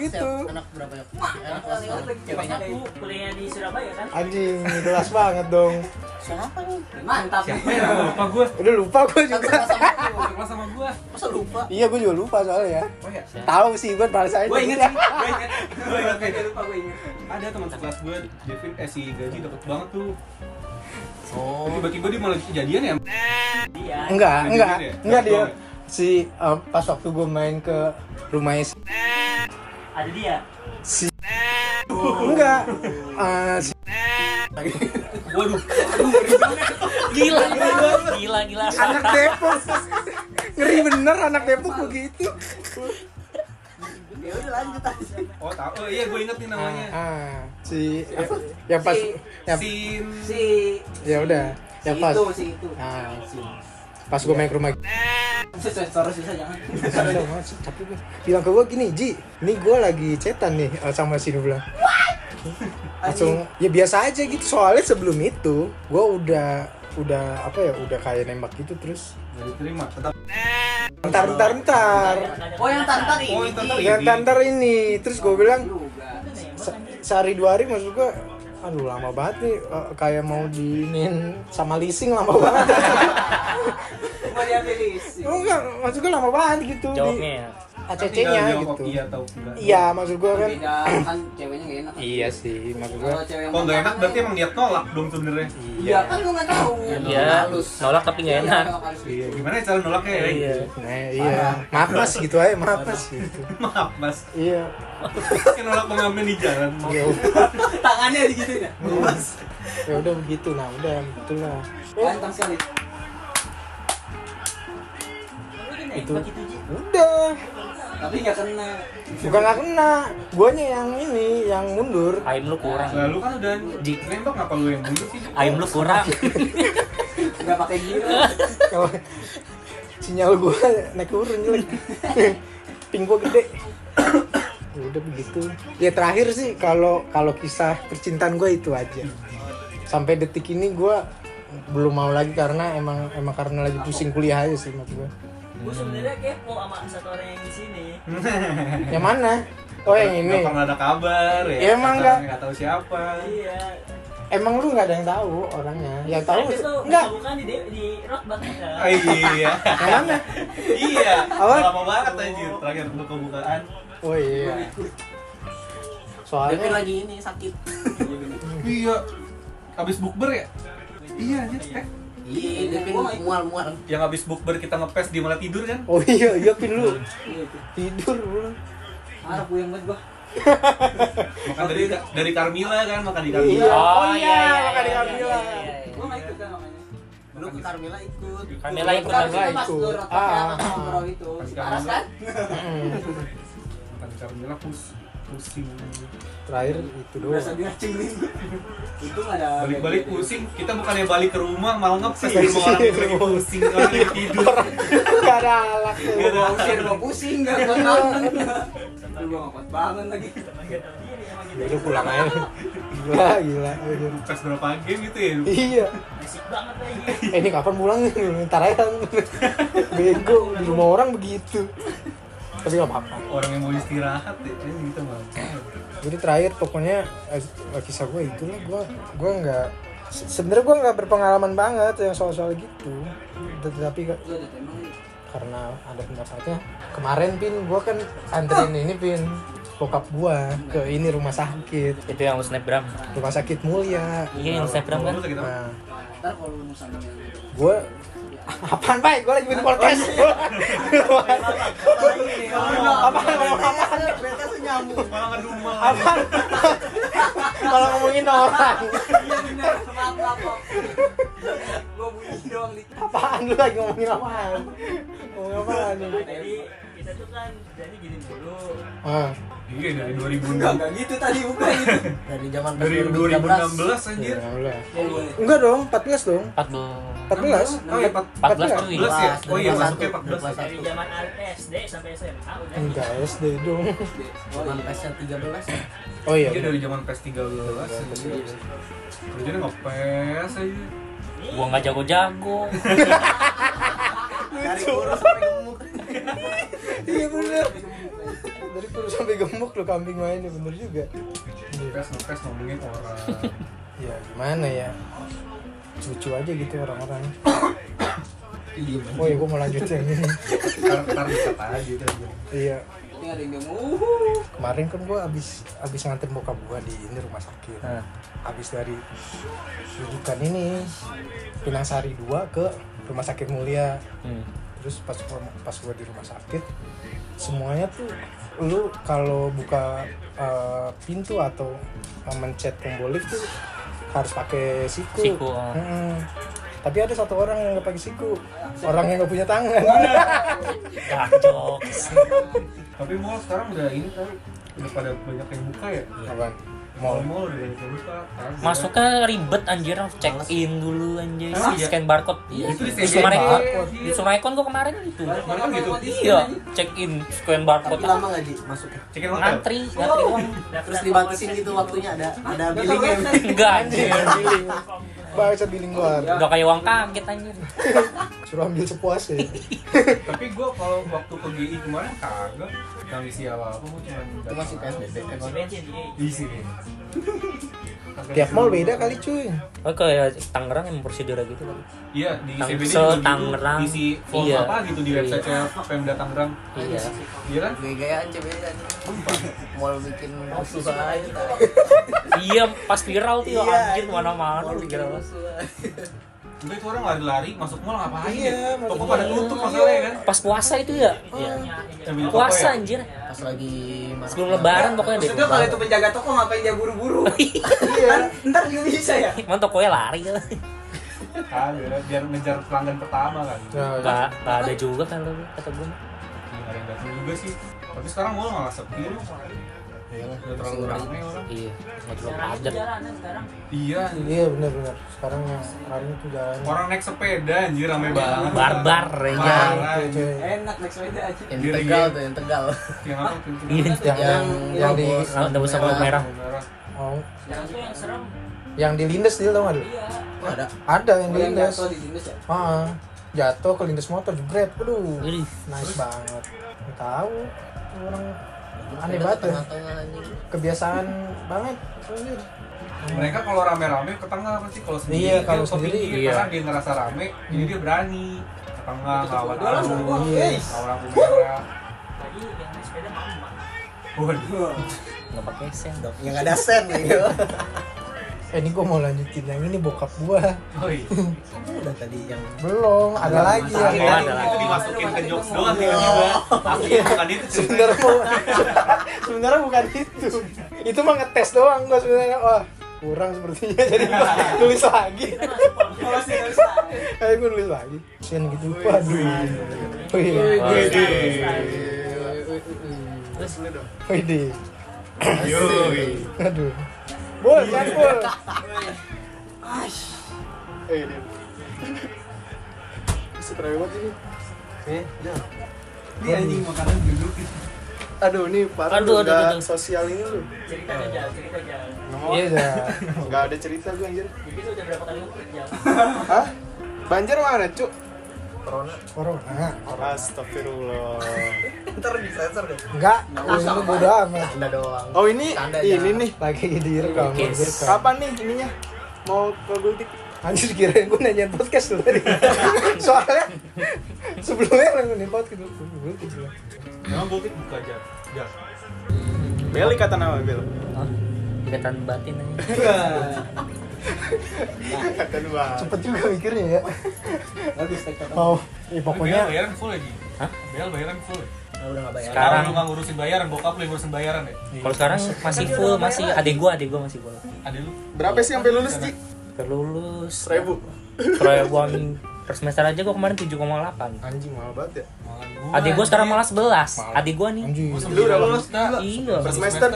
[SPEAKER 1] gitu
[SPEAKER 6] Siap, Anak berapa ya? Anak kelas berapa?
[SPEAKER 5] Pas
[SPEAKER 6] Ceweknya.
[SPEAKER 5] aku kuliahnya Kan di Surabaya kan.
[SPEAKER 1] anjing jelas banget dong
[SPEAKER 6] Siapa nih?
[SPEAKER 3] mantap
[SPEAKER 4] siapa ya nama lupa gua
[SPEAKER 1] udah lupa gue juga
[SPEAKER 4] sekelas sama gua
[SPEAKER 6] Masa lupa?
[SPEAKER 1] iya gue juga lupa soalnya
[SPEAKER 4] oh ya
[SPEAKER 1] tahu sih gue balas aja
[SPEAKER 3] gue inget sih gue inget gue inget gue lupa gue inget
[SPEAKER 4] ada teman sekelas gua Devin eh si Gaji deket banget tuh
[SPEAKER 6] Oh.
[SPEAKER 4] tiba-tiba dia malah jadian ya
[SPEAKER 5] Iya.
[SPEAKER 1] enggak
[SPEAKER 4] Jadi
[SPEAKER 1] enggak
[SPEAKER 4] dia-
[SPEAKER 1] enggak dia
[SPEAKER 4] Doang ya?
[SPEAKER 1] si eh, pas waktu gue main ke rumahnya si-
[SPEAKER 5] Ada dia.
[SPEAKER 1] si enggak Eh, si-
[SPEAKER 4] waduh
[SPEAKER 2] Gila, gila, gila, gila.
[SPEAKER 1] anak Depok ngeri bener anak Depok begitu
[SPEAKER 6] Ya udah lanjut aja.
[SPEAKER 4] oh tahu oh, iya gua inget nih namanya
[SPEAKER 1] ah, si yang pas
[SPEAKER 3] Ya, Si-
[SPEAKER 1] yang
[SPEAKER 4] Sin
[SPEAKER 3] si
[SPEAKER 1] ya udah
[SPEAKER 3] si
[SPEAKER 1] yang pas
[SPEAKER 3] itu si itu
[SPEAKER 1] ah, si- pas gue main ke rumah
[SPEAKER 3] susah terus susah jangan
[SPEAKER 1] Ada banget sih, tapi gua bilang ke gue gini Ji ini gue lagi cetan nih eh, sama si Nubla langsung ya biasa aja gitu soalnya sebelum itu gue udah udah apa ya udah kayak nembak gitu terus
[SPEAKER 4] Gak diterima tetap
[SPEAKER 1] ntar ntar ntar
[SPEAKER 3] oh yang tantar ini
[SPEAKER 4] Oh, yang tantar
[SPEAKER 3] iya.
[SPEAKER 1] ya ntar ntar ini terus gue bilang
[SPEAKER 3] juga
[SPEAKER 1] se- sehari dua hari maksud gue aduh lama banget nih eh, kayak mau diinin sama leasing lama banget Oh,
[SPEAKER 3] mau diambil isi
[SPEAKER 1] enggak maksud gue lama banget gitu di
[SPEAKER 2] Jawabnya. ya.
[SPEAKER 1] ACC
[SPEAKER 4] Tinggal
[SPEAKER 1] nya
[SPEAKER 4] jawab,
[SPEAKER 1] gitu
[SPEAKER 4] iya tahu enggak
[SPEAKER 1] iya maksud gue kan
[SPEAKER 3] beda kan ceweknya gak enak
[SPEAKER 1] iya sih maksud gue
[SPEAKER 3] kalau cewek yang
[SPEAKER 4] kalau nggak
[SPEAKER 3] tantar
[SPEAKER 4] enak berarti
[SPEAKER 3] kan
[SPEAKER 4] emang niat nolak dong sebenarnya
[SPEAKER 3] iya kan lu nggak tahu
[SPEAKER 2] Iya. Nolak tapi nggak enak.
[SPEAKER 3] gitu.
[SPEAKER 4] iya gimana cara nolaknya ya
[SPEAKER 2] Iya.
[SPEAKER 1] Nah, iya, maaf mas gitu aja, maaf mas gitu.
[SPEAKER 4] maaf mas
[SPEAKER 1] Iya,
[SPEAKER 4] yang nolak pengamen di jalan mau
[SPEAKER 1] ya udah,
[SPEAKER 3] tangannya gitu ya
[SPEAKER 1] ya udah begitu, nah udah begitu lah. Ya
[SPEAKER 3] Ganteng sekali.
[SPEAKER 1] Itu udah,
[SPEAKER 3] Tapi nggak kena.
[SPEAKER 1] bukan gak kena, guanya yang ini, yang mundur.
[SPEAKER 2] Aim lu kurang.
[SPEAKER 4] lalu kan udah
[SPEAKER 2] Di-
[SPEAKER 4] nembak ngapa lu yang mundur sih
[SPEAKER 2] Aim lu kurang.
[SPEAKER 3] Nggak pakai gila.
[SPEAKER 1] Kalau sinyal gua naik turun jelek, ping gua gede. Ya udah begitu. Ya terakhir sih kalau kalau kisah percintaan gua itu aja. Sampai detik ini gua belum mau lagi karena emang emang karena lagi pusing kuliah aja sih maksud gua.
[SPEAKER 5] Gue sebenarnya kepo sama satu orang yang di sini.
[SPEAKER 4] Hmm.
[SPEAKER 1] Yang mana? Oh yang ini.
[SPEAKER 4] Gak pernah ada kabar ya.
[SPEAKER 1] Iya, emang
[SPEAKER 4] Pacarnya
[SPEAKER 1] nggak.
[SPEAKER 4] nggak tahu siapa.
[SPEAKER 5] Iya.
[SPEAKER 1] Emang lu nggak ada yang tahu orangnya? Yang tahu
[SPEAKER 5] Tapi lu
[SPEAKER 1] enggak?
[SPEAKER 5] bukan kan di di rock band kan?
[SPEAKER 4] Ah, iya.
[SPEAKER 1] Yang mana?
[SPEAKER 4] iya.
[SPEAKER 1] Apa?
[SPEAKER 4] Lama banget anjir. Terakhir untuk kebukaan.
[SPEAKER 1] Oh iya.
[SPEAKER 3] Tapi
[SPEAKER 1] Soalnya
[SPEAKER 3] lagi ini sakit.
[SPEAKER 4] Iya. Abis bukber ya? Iya anjir. Eh,
[SPEAKER 6] Iya, Devin
[SPEAKER 3] Gua nggak ikut.
[SPEAKER 6] mual-mual.
[SPEAKER 4] yang abis bukber kita ngepes di malah tidur kan?
[SPEAKER 1] Oh iya, iya pin lu
[SPEAKER 3] Iya, itu.
[SPEAKER 1] tidur lu.
[SPEAKER 3] Harap gue yang buat gua.
[SPEAKER 4] Makan dari dari Carmila kan, makan di Carmila.
[SPEAKER 1] Iya. Oh iya,
[SPEAKER 2] makan di
[SPEAKER 1] Carmila.
[SPEAKER 2] iya.
[SPEAKER 3] Gua nggak ikut kan makanya.
[SPEAKER 1] Iya.
[SPEAKER 4] Lu ke
[SPEAKER 3] Carmela ikut.
[SPEAKER 2] Carmela ikut,
[SPEAKER 1] Carmela
[SPEAKER 3] Pas
[SPEAKER 1] ikut.
[SPEAKER 3] lu rotok
[SPEAKER 1] Ah.
[SPEAKER 3] ya, pas ngobrol itu.
[SPEAKER 4] Pas
[SPEAKER 3] Si
[SPEAKER 4] Carmela.
[SPEAKER 3] Aras kan?
[SPEAKER 1] Mm.
[SPEAKER 4] Makan di Carmila pus- pusing.
[SPEAKER 1] Terakhir itu
[SPEAKER 3] Berasa
[SPEAKER 1] doang.
[SPEAKER 3] diracungin. Itu nggak ada.
[SPEAKER 4] Balik-balik pusing, kita bukannya balik ke rumah malah ngepes
[SPEAKER 1] Iya.
[SPEAKER 4] di rumah orang lagi pusing, orang lagi tidur.
[SPEAKER 1] Gak ada alat
[SPEAKER 3] Gua mau usir, gua pusing, nggak kuat bangun. Aduh, gua nggak kuat bangun lagi.
[SPEAKER 1] Ya udah pulang aja. Gila, gila. gila.
[SPEAKER 4] Ngepes berapa game gitu ya?
[SPEAKER 1] Iya.
[SPEAKER 5] Asik banget lagi.
[SPEAKER 1] Eh ini kapan pulang nih? Ntar aja. Bego di rumah orang begitu. Tapi gak apa-apa.
[SPEAKER 4] Orang yang mau istirahat ya, ini gitu mah.
[SPEAKER 1] jadi terakhir pokoknya eh, kisah gue itulah gue gue nggak se- sebenarnya gue nggak berpengalaman banget yang soal-soal gitu tetapi ke-
[SPEAKER 3] Lu ada tema nih.
[SPEAKER 1] karena ada pendapatnya kemarin pin gue kan anterin ini pin bokap gue ke ini rumah sakit
[SPEAKER 2] Itu yang lu snapgram.
[SPEAKER 1] rumah sakit mulia
[SPEAKER 2] Iya yang snapgram kan.
[SPEAKER 4] Terus kita
[SPEAKER 1] nah
[SPEAKER 3] Ntar kalau lu mau sambung yang itu.
[SPEAKER 1] gue apaan baik gue lagi bikin podcast Oh, apaan ngomong apaan
[SPEAKER 6] Mereka senyambung.
[SPEAKER 4] malah ngedumel.
[SPEAKER 1] apaan kalau ngomongin orang
[SPEAKER 3] Iya benar. maaf maaf maaf gue bunyi doang di
[SPEAKER 1] Apaan lu lagi ngomongin apaan? Ngomongin apaan lu?
[SPEAKER 5] Jadi kita tuh kan jadi gini dulu.
[SPEAKER 1] Ah,
[SPEAKER 4] Iya dari
[SPEAKER 3] enggak
[SPEAKER 4] 2006.
[SPEAKER 3] enggak gitu tadi bukan gitu
[SPEAKER 6] dari zaman
[SPEAKER 4] Dari 2016 anjir.
[SPEAKER 1] 14.
[SPEAKER 3] oh boleh
[SPEAKER 1] ya Enggak dong, 14 dong.
[SPEAKER 7] 14
[SPEAKER 1] 14.
[SPEAKER 4] Oh iya,
[SPEAKER 7] 14
[SPEAKER 4] 14 ya? Oh iya,
[SPEAKER 6] 21,
[SPEAKER 4] masuknya 14 ya?
[SPEAKER 5] Dari zaman SD sampai SMA udah
[SPEAKER 1] Enggak SD dong.
[SPEAKER 3] oh
[SPEAKER 6] zaman
[SPEAKER 3] iya
[SPEAKER 6] pasnya 13 ya.
[SPEAKER 1] Oh iya.
[SPEAKER 4] Iya dari zaman PES 13 anjir. Kerjanya ngepes aja.
[SPEAKER 7] Gua nggak jago-jago
[SPEAKER 6] dari kurus sampai gemuk
[SPEAKER 1] Iya bener. Dari kurus sampai gemuk lu kambing mainnya bener juga.
[SPEAKER 4] Ngepes ngepes ngomongin orang.
[SPEAKER 1] Ya gimana ya? Lucu aja gitu orang-orang.
[SPEAKER 4] Iya
[SPEAKER 1] Oh iya, gua mau lanjut yang ini.
[SPEAKER 4] Ntar ntar wisata aja udah.
[SPEAKER 1] Iya,
[SPEAKER 3] ini ada yang bilang uhuh
[SPEAKER 1] kemarin kan gua abis abis nganter bokap gua di ini rumah sakit.
[SPEAKER 7] Hah.
[SPEAKER 1] Abis dari rujukan ini Pinang Sari 2 ke Rumah Sakit Mulia.
[SPEAKER 7] Hmm.
[SPEAKER 1] terus pas pas gue di rumah sakit semuanya tuh lu kalau buka eh, pintu atau eh, mencet tombol lift tuh harus pakai siku,
[SPEAKER 7] Siku, ah.
[SPEAKER 1] Mm-mm. tapi ada satu orang yang nggak pakai siku orang yang nggak punya tangan
[SPEAKER 7] Dark jokes
[SPEAKER 4] Tapi mall sekarang udah ini kan udah pada banyak yang buka ya.
[SPEAKER 1] Apaan? mau
[SPEAKER 4] Mall mall udah banyak yang buka. Target.
[SPEAKER 7] Masuknya ribet anjir harus check in dulu anjir
[SPEAKER 4] Emang
[SPEAKER 7] Di
[SPEAKER 4] iya?
[SPEAKER 7] scan barcode
[SPEAKER 4] Itu di
[SPEAKER 7] Di
[SPEAKER 4] scan
[SPEAKER 7] Sumarekon.
[SPEAKER 4] barcode.
[SPEAKER 7] Di Sumarekon gua kemarin gitu
[SPEAKER 4] Kemarin gitu.
[SPEAKER 7] Iya check in scan barcode
[SPEAKER 6] tapi lama nggak di masuknya
[SPEAKER 4] Cekin hotel.
[SPEAKER 7] Ngantri Ngantri doang
[SPEAKER 6] terus dibatasin gitu waktunya ada ada billingnya
[SPEAKER 7] Enggak anjir
[SPEAKER 1] bahasa biling
[SPEAKER 2] Ya
[SPEAKER 1] luar
[SPEAKER 7] Enggak kayak uang kaget anjir
[SPEAKER 1] suruh ambil sepuasnya
[SPEAKER 4] Tapi gua kalau waktu ke GI kemarin kagak nggak ngisi apa-apa gua cuma datang
[SPEAKER 6] masih
[SPEAKER 4] aja.
[SPEAKER 6] PSBB.
[SPEAKER 5] Isi bensin iya. di
[SPEAKER 4] Isi deh.
[SPEAKER 1] tiap mall beda kali cuy
[SPEAKER 7] Oh kayak Tangerang emang prosedurnya gitu kali
[SPEAKER 4] Iya di
[SPEAKER 7] Tangsel,
[SPEAKER 4] CBD juga gitu.
[SPEAKER 7] Tangerang.
[SPEAKER 4] Isi form
[SPEAKER 7] Iya.
[SPEAKER 4] apa gitu di
[SPEAKER 7] Iya.
[SPEAKER 4] website-nya Pemda Tangerang.
[SPEAKER 7] Iya
[SPEAKER 4] Iya kan?
[SPEAKER 6] gaya-gayaan cewek kan mau bikin susah aja
[SPEAKER 7] Iya pas viral tuh
[SPEAKER 6] Iya,
[SPEAKER 7] ya, anjir
[SPEAKER 6] gitu. anjing.
[SPEAKER 7] mana-mana
[SPEAKER 6] mau bikin
[SPEAKER 3] iya.
[SPEAKER 7] viral
[SPEAKER 6] musuh
[SPEAKER 4] Udah itu orang lari-lari masuk mall ngapain
[SPEAKER 1] Iya,
[SPEAKER 4] ya?
[SPEAKER 1] masuk
[SPEAKER 4] Toko
[SPEAKER 1] mall.
[SPEAKER 4] pada tutup masalahnya kan?
[SPEAKER 7] Pas puasa itu ya
[SPEAKER 4] Ambil toko
[SPEAKER 7] Puasa
[SPEAKER 4] ya?
[SPEAKER 7] anjir
[SPEAKER 6] pas lagi marah-
[SPEAKER 7] Sebelum lebaran pokoknya deh
[SPEAKER 3] maksudnya kalau itu penjaga toko ngapain dia buru-buru
[SPEAKER 6] Iya.
[SPEAKER 3] Ntar- ntar juga bisa ya
[SPEAKER 7] Cuman tokonya lari lah
[SPEAKER 4] Kagak, biar ngejar pelanggan pertama kan.
[SPEAKER 1] Iya, Nah,
[SPEAKER 7] Gak, gak ada juga kalau kata
[SPEAKER 4] Nggak
[SPEAKER 7] gue
[SPEAKER 4] ada yang datang juga sih. Tapi sekarang mall malah sepi
[SPEAKER 6] Iya.
[SPEAKER 4] loh.
[SPEAKER 6] Iyalah,
[SPEAKER 4] Udah terlalu
[SPEAKER 6] pusing.
[SPEAKER 4] ramai orang.
[SPEAKER 7] Iya, gak terlalu
[SPEAKER 5] Sekarang itu
[SPEAKER 7] padat
[SPEAKER 5] jalanan sekarang.
[SPEAKER 4] Iya, anjir.
[SPEAKER 1] iya benar-benar sekarang yang ramai tuh jalan
[SPEAKER 4] orang naik sepeda anjir
[SPEAKER 6] Iya,
[SPEAKER 4] ramai banget.
[SPEAKER 7] Barbar ya
[SPEAKER 4] Parah, anjir.
[SPEAKER 1] Iya, cuy.
[SPEAKER 3] enak naik sepeda aja
[SPEAKER 6] yang
[SPEAKER 4] Diri
[SPEAKER 6] tegal
[SPEAKER 4] dia.
[SPEAKER 6] tuh yang tegal
[SPEAKER 4] Yang apa tuh?
[SPEAKER 7] Iya,
[SPEAKER 1] yang yang, yang di
[SPEAKER 7] Nggak usah kalau merah
[SPEAKER 4] Merah.
[SPEAKER 1] oh,
[SPEAKER 5] Sekarang tuh yang serem.
[SPEAKER 1] yang di lindes dia tau gak lu?
[SPEAKER 5] Iya.
[SPEAKER 6] Oh, ada
[SPEAKER 1] ada yang
[SPEAKER 3] Oh,
[SPEAKER 1] di
[SPEAKER 3] yang
[SPEAKER 1] lindes
[SPEAKER 3] jatuh di jenis ya
[SPEAKER 1] Ah, jatuh ke lindes motor jebret. Aduh,
[SPEAKER 7] Ih,
[SPEAKER 1] nice banget. Nggak tahu orang aneh
[SPEAKER 6] Ada
[SPEAKER 1] banget ya.
[SPEAKER 6] tengah-tengah anjing
[SPEAKER 1] Kebiasaan banget. anjir.
[SPEAKER 4] Mereka kalau rame-rame ke tengah pasti kalau sendiri
[SPEAKER 1] Iya, kalau
[SPEAKER 4] dia ke
[SPEAKER 1] sendiri,
[SPEAKER 4] pinggir.
[SPEAKER 7] iya.
[SPEAKER 4] karena dia ngerasa rame, jadi dia berani ke tengah lawan
[SPEAKER 3] Dua lah,
[SPEAKER 4] arus,
[SPEAKER 3] dua.
[SPEAKER 1] Iya.
[SPEAKER 3] Guys.
[SPEAKER 4] lawan lampu merah.
[SPEAKER 5] Tadi yang naik sepeda mama.
[SPEAKER 4] Waduh,
[SPEAKER 7] gak pakai sen
[SPEAKER 6] yang ada sen gitu
[SPEAKER 1] Eh, ini gua mau lanjutin yang ini bokap gua.
[SPEAKER 4] oh iya.
[SPEAKER 6] udah tadi yang
[SPEAKER 1] Belum, ada
[SPEAKER 6] Ada
[SPEAKER 1] lagi
[SPEAKER 6] masalah.
[SPEAKER 1] yang
[SPEAKER 4] Tadi
[SPEAKER 7] ada
[SPEAKER 6] iya.
[SPEAKER 4] itu
[SPEAKER 7] lagi.
[SPEAKER 4] dimasukin ke
[SPEAKER 3] Ada
[SPEAKER 4] jokes
[SPEAKER 3] masalah.
[SPEAKER 4] doang tiba-tiba. Asli bukan itu ceritanya.
[SPEAKER 1] sebenarnya sebenarnya bukan itu. Itu mah ngetes doang gua sebenarnya. Wah, kurang sepertinya jadi gua nulis lagi.
[SPEAKER 3] kalau sih harus tahu.
[SPEAKER 1] Kayak gua nulis lagi. Sian gitu. Waduh. Wih.
[SPEAKER 4] Wede. iya.
[SPEAKER 1] Wih.
[SPEAKER 4] Yoi.
[SPEAKER 1] Aduh. Bol, kan bol.
[SPEAKER 4] Ini anjing makanan duduk gitu.
[SPEAKER 8] Aduh ini parah lu
[SPEAKER 7] Aduh, aduh,
[SPEAKER 8] nggak
[SPEAKER 7] aduh.
[SPEAKER 8] sosial ini lu
[SPEAKER 5] Cerita jajal, cerita jajal.
[SPEAKER 1] Iya, dah.
[SPEAKER 8] Nggak ada cerita gue anjir
[SPEAKER 5] Jadi itu udah berapa kali lu kerja?
[SPEAKER 8] Hah? Banjir mana cuk?
[SPEAKER 1] Corona.
[SPEAKER 8] Astagfirullah
[SPEAKER 6] ntar disensor deh
[SPEAKER 1] Enggak, ini bodo amat.
[SPEAKER 6] anda doang
[SPEAKER 8] Oh ini,
[SPEAKER 6] Tanda
[SPEAKER 8] ini
[SPEAKER 6] ya.
[SPEAKER 8] nih
[SPEAKER 1] Lagi direkam,
[SPEAKER 7] Oke.
[SPEAKER 1] direkam.
[SPEAKER 8] Kapan nih ininya? Mau ke Gultik?
[SPEAKER 1] Anjir kirain gue nanya podcast lu tadi. Soalnya sebelumnya orang nanya podcast gitu. Gue gitu.
[SPEAKER 4] Emang Gultik buka aja. Ya.
[SPEAKER 8] Beli kata nama Bel
[SPEAKER 7] Hah? Ikatan batin aja
[SPEAKER 1] Iya.
[SPEAKER 8] Kata dua
[SPEAKER 1] Cepet juga mikirnya ya.
[SPEAKER 3] bagus naik sepeda.
[SPEAKER 1] Mau, eh
[SPEAKER 4] Pokoknya
[SPEAKER 1] pokoknya
[SPEAKER 4] bayaran full lagi. Hah? bayaran full. ya?
[SPEAKER 6] Nah, udah nggak bayar
[SPEAKER 7] Sekarang.
[SPEAKER 4] Kalau lu nggak ngurusin bayaran, bokap lu yang ngurusin bayaran ya.
[SPEAKER 1] Iya.
[SPEAKER 7] Kalau sekarang masih full, masih adek gua, adek gua masih full
[SPEAKER 4] Ada lu.
[SPEAKER 8] Berapa sih sampai lulus Ji?
[SPEAKER 7] hampir lulus
[SPEAKER 8] seribu
[SPEAKER 7] proyek uang per semester aja gue kemarin 7,8
[SPEAKER 1] anjing mahal banget ya
[SPEAKER 7] adik gue sekarang malah 11
[SPEAKER 1] Mahal.
[SPEAKER 7] adik gue nih
[SPEAKER 1] anjing
[SPEAKER 8] Lu udah lulus,
[SPEAKER 7] iya
[SPEAKER 8] per semester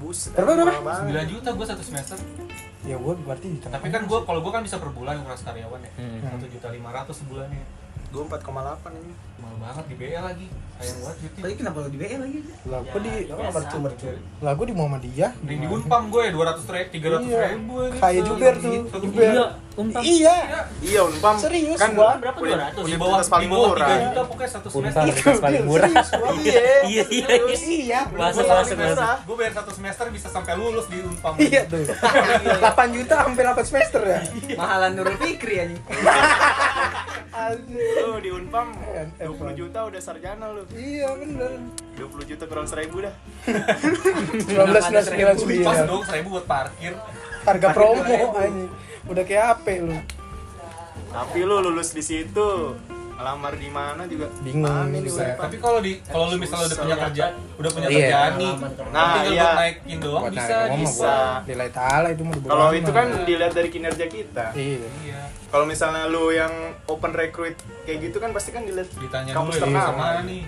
[SPEAKER 8] buset berapa berapa
[SPEAKER 4] 9 juta gue satu semester
[SPEAKER 1] ya gue berarti di tengah
[SPEAKER 4] tapi kan gue kalau gue kan bisa per bulan nguras karyawan ya
[SPEAKER 7] Hmm.
[SPEAKER 4] satu juta lima ratus sebulannya
[SPEAKER 8] gue empat koma delapan ini
[SPEAKER 4] mahal banget di BL lagi sayang banget duitnya
[SPEAKER 3] Tapi kenapa lo di BL lagi?
[SPEAKER 1] lah gue di
[SPEAKER 5] biasa.
[SPEAKER 1] lah gue di Muhammadiyah
[SPEAKER 4] Mending di Unpam gue ya 200 ribu, 300
[SPEAKER 1] Iya.
[SPEAKER 4] ribu
[SPEAKER 1] Kayak Juber tuh, Juber.
[SPEAKER 7] iya unpam
[SPEAKER 1] iya
[SPEAKER 8] iya unpam
[SPEAKER 1] serius
[SPEAKER 8] kan
[SPEAKER 1] gua
[SPEAKER 5] berapa
[SPEAKER 8] Udah-
[SPEAKER 5] 200?
[SPEAKER 4] Di
[SPEAKER 8] udah
[SPEAKER 4] bawah,
[SPEAKER 8] paling
[SPEAKER 4] di bawah
[SPEAKER 8] murah
[SPEAKER 4] 3 juta pokoknya satu
[SPEAKER 7] unpam
[SPEAKER 4] semester
[SPEAKER 7] itu paling murah
[SPEAKER 8] iya
[SPEAKER 7] iya iya iya
[SPEAKER 1] iya
[SPEAKER 7] bahasa
[SPEAKER 4] Gua
[SPEAKER 7] bahasa
[SPEAKER 4] paling
[SPEAKER 7] bahasa
[SPEAKER 4] murah. Gua bayar satu semester bisa sampai lulus di Unpam
[SPEAKER 1] iya tuh 8 juta hampir 8 semester ya
[SPEAKER 3] Mahalan Nurul Fikri anjing.
[SPEAKER 8] lu di unpam
[SPEAKER 1] Eh, eh,
[SPEAKER 8] 20 juta udah sarjana lu
[SPEAKER 1] iya bener
[SPEAKER 8] 20 juta kurang seribu dah
[SPEAKER 1] 1999
[SPEAKER 4] Pas dong seribu buat parkir
[SPEAKER 1] harga promo anjing udah kayak HP lu
[SPEAKER 8] tapi lu lulus di situ ngelamar di mana juga
[SPEAKER 1] Bingung,
[SPEAKER 8] Aneh di
[SPEAKER 1] bisa.
[SPEAKER 8] Unpam.
[SPEAKER 4] Tapi kalau di kalau lu misalnya udah punya kerja, udah punya
[SPEAKER 7] Iya.
[SPEAKER 4] kerjaan nih
[SPEAKER 8] Nah,
[SPEAKER 4] Tinggal
[SPEAKER 8] iya.
[SPEAKER 4] buat naikin doang
[SPEAKER 1] buat
[SPEAKER 4] bisa,
[SPEAKER 1] narik ngomong
[SPEAKER 4] bisa
[SPEAKER 1] bisa nilai taala itu mau dibawa
[SPEAKER 8] kalau
[SPEAKER 1] kemana.
[SPEAKER 8] itu kan dilihat dari kinerja kita
[SPEAKER 1] iya
[SPEAKER 4] Iya
[SPEAKER 8] kalau misalnya lu yang open recruit kayak gitu kan pasti kan dilihat
[SPEAKER 4] Ditanya
[SPEAKER 8] Kampus
[SPEAKER 1] iya,
[SPEAKER 4] dulu ya
[SPEAKER 8] ternama.
[SPEAKER 4] sama nih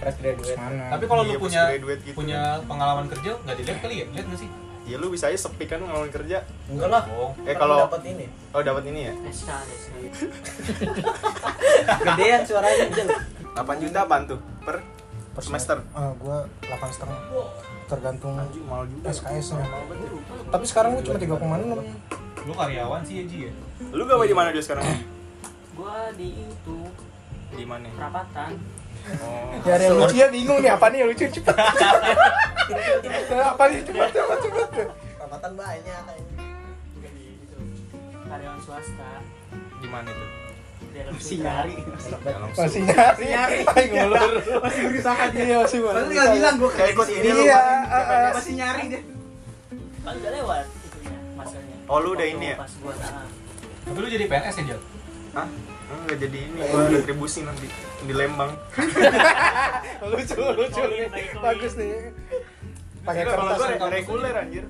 [SPEAKER 1] mana
[SPEAKER 4] Tapi kalau lu
[SPEAKER 8] Iya, pas
[SPEAKER 4] punya
[SPEAKER 8] graduate gitu.
[SPEAKER 4] punya
[SPEAKER 3] kan.
[SPEAKER 4] pengalaman kerja nggak dilihat kali ya? Lihat nggak sih?
[SPEAKER 8] ya lu bisa aja sepi kan ngelawan kerja
[SPEAKER 6] enggak lah
[SPEAKER 4] Bohong.
[SPEAKER 8] eh kalau
[SPEAKER 6] dapat ini
[SPEAKER 8] oh dapat ini ya
[SPEAKER 5] SK, SK.
[SPEAKER 3] Gedean suaranya Jel.
[SPEAKER 8] 8 juta apaan tuh per per semester
[SPEAKER 1] ah gua delapan setengah tergantung
[SPEAKER 8] anjing mahal juga
[SPEAKER 1] SKS nya tapi sekarang gua cuma 3,6
[SPEAKER 4] Lu karyawan sih ya Ji ya?
[SPEAKER 8] lu gawe di mana dia sekarang
[SPEAKER 5] Gua di itu
[SPEAKER 8] di mana Oh,
[SPEAKER 5] perapatan.
[SPEAKER 1] ya ada yang lucu ya bingung nih apa nih yang lucu cepet apa nih cepet cepet cepet
[SPEAKER 6] tamatan banyak
[SPEAKER 5] Gua di itu karyawan swasta.
[SPEAKER 8] di mana itu
[SPEAKER 5] Dalam nyari.
[SPEAKER 1] masih nyari nyari ngulur
[SPEAKER 3] Masih berusaha dia.
[SPEAKER 1] iya masih
[SPEAKER 3] Padahal
[SPEAKER 1] berusaha.
[SPEAKER 3] tinggal bilang gua
[SPEAKER 8] Kayak ikut ini lu,
[SPEAKER 1] iya
[SPEAKER 8] Pak.
[SPEAKER 1] eh, eh.
[SPEAKER 3] masih nyari deh.
[SPEAKER 5] Kan udah lewat itunya masanya.
[SPEAKER 8] Oh, lu udah
[SPEAKER 5] Waktu
[SPEAKER 8] ini ya?
[SPEAKER 5] Pas gua nah,
[SPEAKER 4] Tapi lu jadi PNS ya Jal?
[SPEAKER 8] Hah? Enggak jadi ini,
[SPEAKER 1] Eh,
[SPEAKER 8] gua
[SPEAKER 1] iya.
[SPEAKER 8] retribusi nanti di Lembang.
[SPEAKER 1] lucu lucu nih bagus nih pakai
[SPEAKER 8] Kalau
[SPEAKER 1] kertas
[SPEAKER 8] gua re- reguler anjir.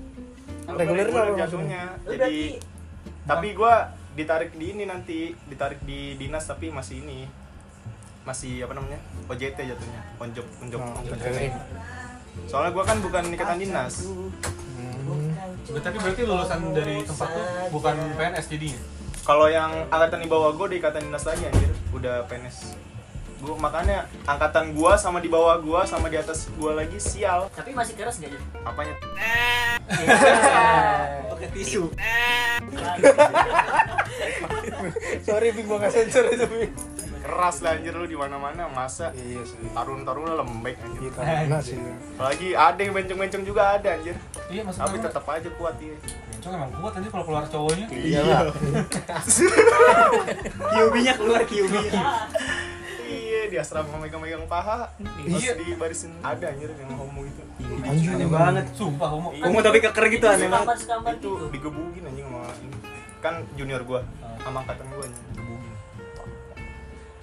[SPEAKER 8] Kalau gua
[SPEAKER 1] Reguler apa maksudnya?
[SPEAKER 8] jatuhnya.
[SPEAKER 5] Lu
[SPEAKER 8] Jadi
[SPEAKER 5] berarti-
[SPEAKER 8] tapi gua ditarik di ini nanti, ditarik di dinas tapi masih ini. Masih apa namanya? OJT jatuhnya, onjob, onjob.
[SPEAKER 1] Oh,
[SPEAKER 8] onjob.
[SPEAKER 1] keren.
[SPEAKER 8] Soalnya gua kan bukan ikatan dinas.
[SPEAKER 1] Hmm.
[SPEAKER 4] Tapi berarti lulusan dari tempat lu bukan PNS jadinya?
[SPEAKER 8] Kalau yang angkatan di bawah gua di ikatan dinas lagi anjir, udah PNS. Gua makanya angkatan gua sama di bawah gua sama di atas gua lagi sial.
[SPEAKER 5] Tapi masih keras enggak jadi?
[SPEAKER 8] Apanya?
[SPEAKER 3] Pakai tisu.
[SPEAKER 1] sorry bing gua nggak sensor itu bing
[SPEAKER 8] Keras lah anjir lu di mana-mana masa
[SPEAKER 1] iya sih
[SPEAKER 8] tarun-tarun lembek anjir.
[SPEAKER 1] kita
[SPEAKER 3] Eh,
[SPEAKER 1] enak Iya, sih
[SPEAKER 8] Apalagi ada yang bencong-bencong juga ada anjir.
[SPEAKER 4] Iya maksud
[SPEAKER 8] Tapi
[SPEAKER 4] gua,
[SPEAKER 8] tetap aja kuat iya. dia.
[SPEAKER 4] Bencong emang kuat aja kalau keluar cowoknya
[SPEAKER 1] iya
[SPEAKER 3] QB-nya keluar QB.
[SPEAKER 8] Iya, di asrama megang-megang paha. Iya, di barisin ada anjir yang homo gitu.
[SPEAKER 1] anjing
[SPEAKER 3] Aneh banget.
[SPEAKER 4] Sumpah homo
[SPEAKER 8] Iya.
[SPEAKER 3] Kamu tapi keker gitu aneh banget.
[SPEAKER 5] Sekamar sekamar
[SPEAKER 8] Itu
[SPEAKER 5] gitu.
[SPEAKER 8] digebugin anjing sama ini. Kan junior gua sama angkatan gua anjing digebugin.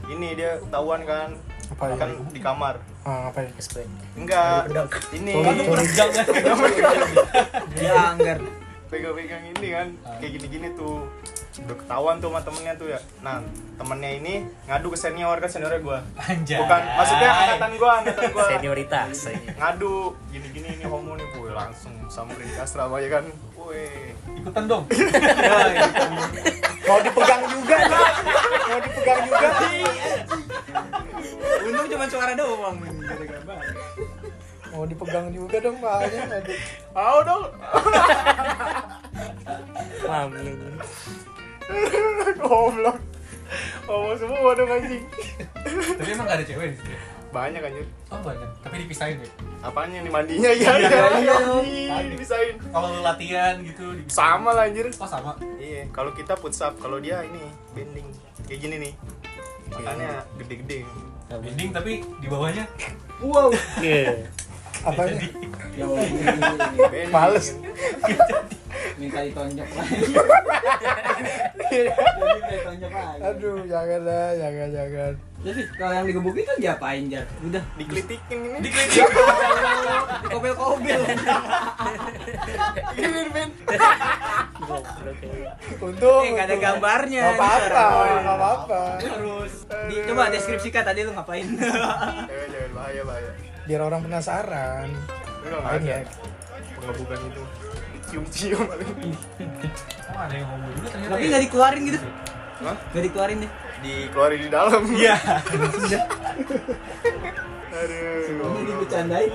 [SPEAKER 8] Ini dia ketahuan kan
[SPEAKER 1] apa ya
[SPEAKER 8] kan di kamar.
[SPEAKER 1] ah apa ya
[SPEAKER 7] Explain.
[SPEAKER 8] Enggak. Ini
[SPEAKER 1] Sorry, sorry.
[SPEAKER 3] Dia anggar. Ah.
[SPEAKER 8] pegang-pegang ini kan kayak gini-gini tuh udah ketahuan tuh sama temennya tuh ya nah temennya ini ngadu ke senior kan seniornya gua
[SPEAKER 4] Anjay
[SPEAKER 8] bukan maksudnya angkatan gua angkatan gua
[SPEAKER 7] senioritas ini.
[SPEAKER 8] ngadu gini-gini ini homo nih gue langsung samperin ke asrama ya kan woi
[SPEAKER 4] Ikutan dong Iya,
[SPEAKER 1] mau dipegang juga nih mau dipegang juga
[SPEAKER 3] Untung cuma suara doang. men.
[SPEAKER 1] mau dipegang juga dong Iya. makanya aduh.
[SPEAKER 8] mau dong
[SPEAKER 1] iya,
[SPEAKER 7] Mami.
[SPEAKER 8] goblok homo semua dong anjing
[SPEAKER 4] Tapi emang gak ada cewek di situ ya?
[SPEAKER 8] banyak anjir
[SPEAKER 4] Oh banyak Tapi dipisahin ya?
[SPEAKER 8] apanya nih mandinya ya
[SPEAKER 3] Iya,
[SPEAKER 8] anjing dipisahin
[SPEAKER 4] Kalau lu latihan gitu dipisahin
[SPEAKER 8] sama lah anjir
[SPEAKER 4] Oh sama?
[SPEAKER 8] iya kalau kita putsap kalau dia ini bending kayak gini nih makanya gede-gede
[SPEAKER 4] Nah, Binding tapi di bawahnya
[SPEAKER 3] Wow.
[SPEAKER 1] apa ya
[SPEAKER 3] Ya
[SPEAKER 8] Bending.
[SPEAKER 1] males
[SPEAKER 3] minta ditonjok lagi. Minta ditonjok lagi.
[SPEAKER 1] aduh jangan lah jangan jangan
[SPEAKER 3] Jadi kalau yang digebukin kan diapain jar? Udah
[SPEAKER 8] dikelitikin ini
[SPEAKER 3] dikobel-kobel.
[SPEAKER 8] dikelitikin men
[SPEAKER 7] Goblok ya.
[SPEAKER 1] Untung
[SPEAKER 3] Eh, nggak ada
[SPEAKER 1] untung.
[SPEAKER 3] gambarnya.
[SPEAKER 1] Nggak apa-apa, nggak apa-apa.
[SPEAKER 3] Di, coba deskripsikan tadi lu ngapain?
[SPEAKER 8] Jangan, jangan, bahaya, bahaya.
[SPEAKER 1] Biar orang penasaran.
[SPEAKER 8] Enggak,
[SPEAKER 1] Lain ya.
[SPEAKER 8] Pengebukan itu. Cium-cium paling.
[SPEAKER 4] Oh ada yang homo juga ternyata
[SPEAKER 3] Tapi
[SPEAKER 4] ya?
[SPEAKER 3] nggak dikeluarin gitu.
[SPEAKER 8] Hah?
[SPEAKER 3] Nggak dikeluarin deh.
[SPEAKER 8] Dikeluarin di dalam. Iya.
[SPEAKER 3] Ini
[SPEAKER 8] Aduh.
[SPEAKER 3] dibecandain.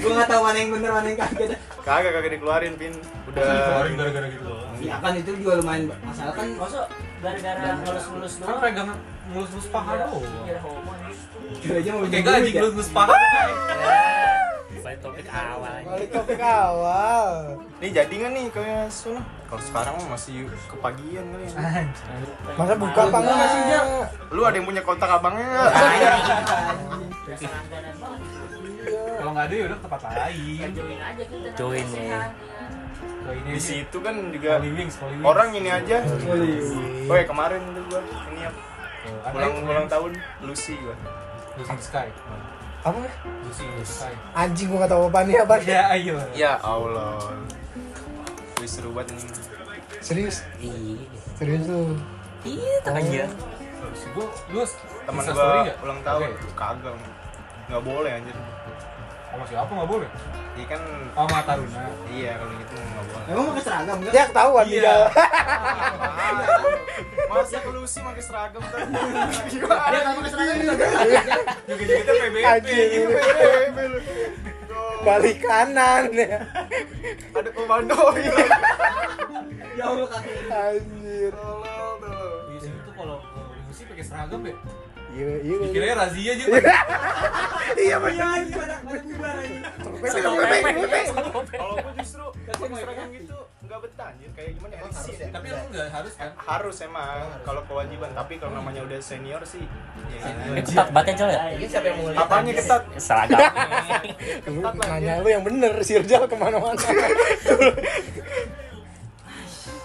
[SPEAKER 3] Gue nggak tahu mana yang bener mana yang kagak.
[SPEAKER 8] Kagak kagak dikeluarin, Pin.
[SPEAKER 4] Udah dikeluarin
[SPEAKER 8] Udah.
[SPEAKER 4] gara-gara gitu loh
[SPEAKER 3] Ya kan itu juga lumayan masalah kan.
[SPEAKER 5] Masa gara-gara ngelus-ngelus
[SPEAKER 4] Kan
[SPEAKER 5] doang
[SPEAKER 4] pegang mulus-mulus paha doang
[SPEAKER 5] Kira homo
[SPEAKER 7] ya.
[SPEAKER 5] nih
[SPEAKER 3] Itu aja mau
[SPEAKER 4] Kayak
[SPEAKER 3] bikin
[SPEAKER 4] gaji
[SPEAKER 3] duit ya.
[SPEAKER 4] mulus-mulus paha
[SPEAKER 7] Balik topik awal aja.
[SPEAKER 1] Balik topik awal.
[SPEAKER 8] Nih jadi nggak nih kayak sono? Kalau sekarang mah masih kepagian kali ya.
[SPEAKER 1] Masa buka apa enggak sih, Jak?
[SPEAKER 8] Lu ada yang punya kontak abangnya nggak?
[SPEAKER 5] Biasa langganan banget
[SPEAKER 4] Kalau nggak ada ya udah ke tempat lain
[SPEAKER 5] Join aja kita
[SPEAKER 7] Join,
[SPEAKER 5] nanti
[SPEAKER 7] ya.
[SPEAKER 5] sehat,
[SPEAKER 4] Kalau ini
[SPEAKER 8] Di
[SPEAKER 4] aja,
[SPEAKER 8] situ kan juga
[SPEAKER 4] Holy Wings, Holy Wings
[SPEAKER 8] orang ini aja.
[SPEAKER 1] Iya.
[SPEAKER 8] Woi kemarin tuh gua ini ya
[SPEAKER 4] Tuh, ada
[SPEAKER 8] ulang
[SPEAKER 4] yang
[SPEAKER 8] ulang tahun Lucy gua.
[SPEAKER 4] Lucy in the Sky
[SPEAKER 1] Apa?
[SPEAKER 4] Lucy in the Sky
[SPEAKER 1] Anjing gua enggak tahu apa nih apa.
[SPEAKER 4] Ya ayo
[SPEAKER 8] Ya Allah. Wih seru banget ini.
[SPEAKER 1] Serius?
[SPEAKER 7] Iya.
[SPEAKER 1] Serius lu.
[SPEAKER 7] Iya.
[SPEAKER 4] Lucy gua, lu
[SPEAKER 8] Temen
[SPEAKER 4] Insta story
[SPEAKER 8] gua
[SPEAKER 4] nggak?
[SPEAKER 8] ulang tahun
[SPEAKER 4] Oke.
[SPEAKER 8] kagak. Nggak boleh anjir.
[SPEAKER 4] Sama siapa nggak boleh?
[SPEAKER 8] Iya kan
[SPEAKER 4] Sama Taruna
[SPEAKER 8] iya kalau gitu nggak boleh. Ah.
[SPEAKER 3] Emang pakai seragam kan?
[SPEAKER 1] Jak Ya, ketahuan di
[SPEAKER 4] Iya.
[SPEAKER 1] dalam.
[SPEAKER 8] Masa ke Lucy pakai seragam tuh?
[SPEAKER 3] Dia nggak pakai seragam ya? juga.
[SPEAKER 4] Juga-juga PBB
[SPEAKER 1] Anjing.
[SPEAKER 4] Iya,
[SPEAKER 1] Balik kanan.
[SPEAKER 8] Ada komando gitu.
[SPEAKER 3] Ya Allah kaki.
[SPEAKER 1] Anjir.
[SPEAKER 4] Lucy itu kalau eh, Lucy pakai seragam ya
[SPEAKER 1] Iya, iya.
[SPEAKER 4] Dikiranya razia aja
[SPEAKER 1] Iya, bener.
[SPEAKER 8] Kalau gua justru pakai seragam gitu nggak betah anjir kayak gimana ya? Risih ya?
[SPEAKER 4] Tapi lu nggak harus kan?
[SPEAKER 8] harus emang kalau kewajiban tapi kalau namanya udah senior sih
[SPEAKER 7] Ini
[SPEAKER 8] ya,
[SPEAKER 7] ketat banget ya, Cel ya?
[SPEAKER 5] Ini siapa yang mau
[SPEAKER 8] apanya ketat
[SPEAKER 7] Seragam.
[SPEAKER 1] Lu Nanya lu yang bener, Sirjal kemana-mana.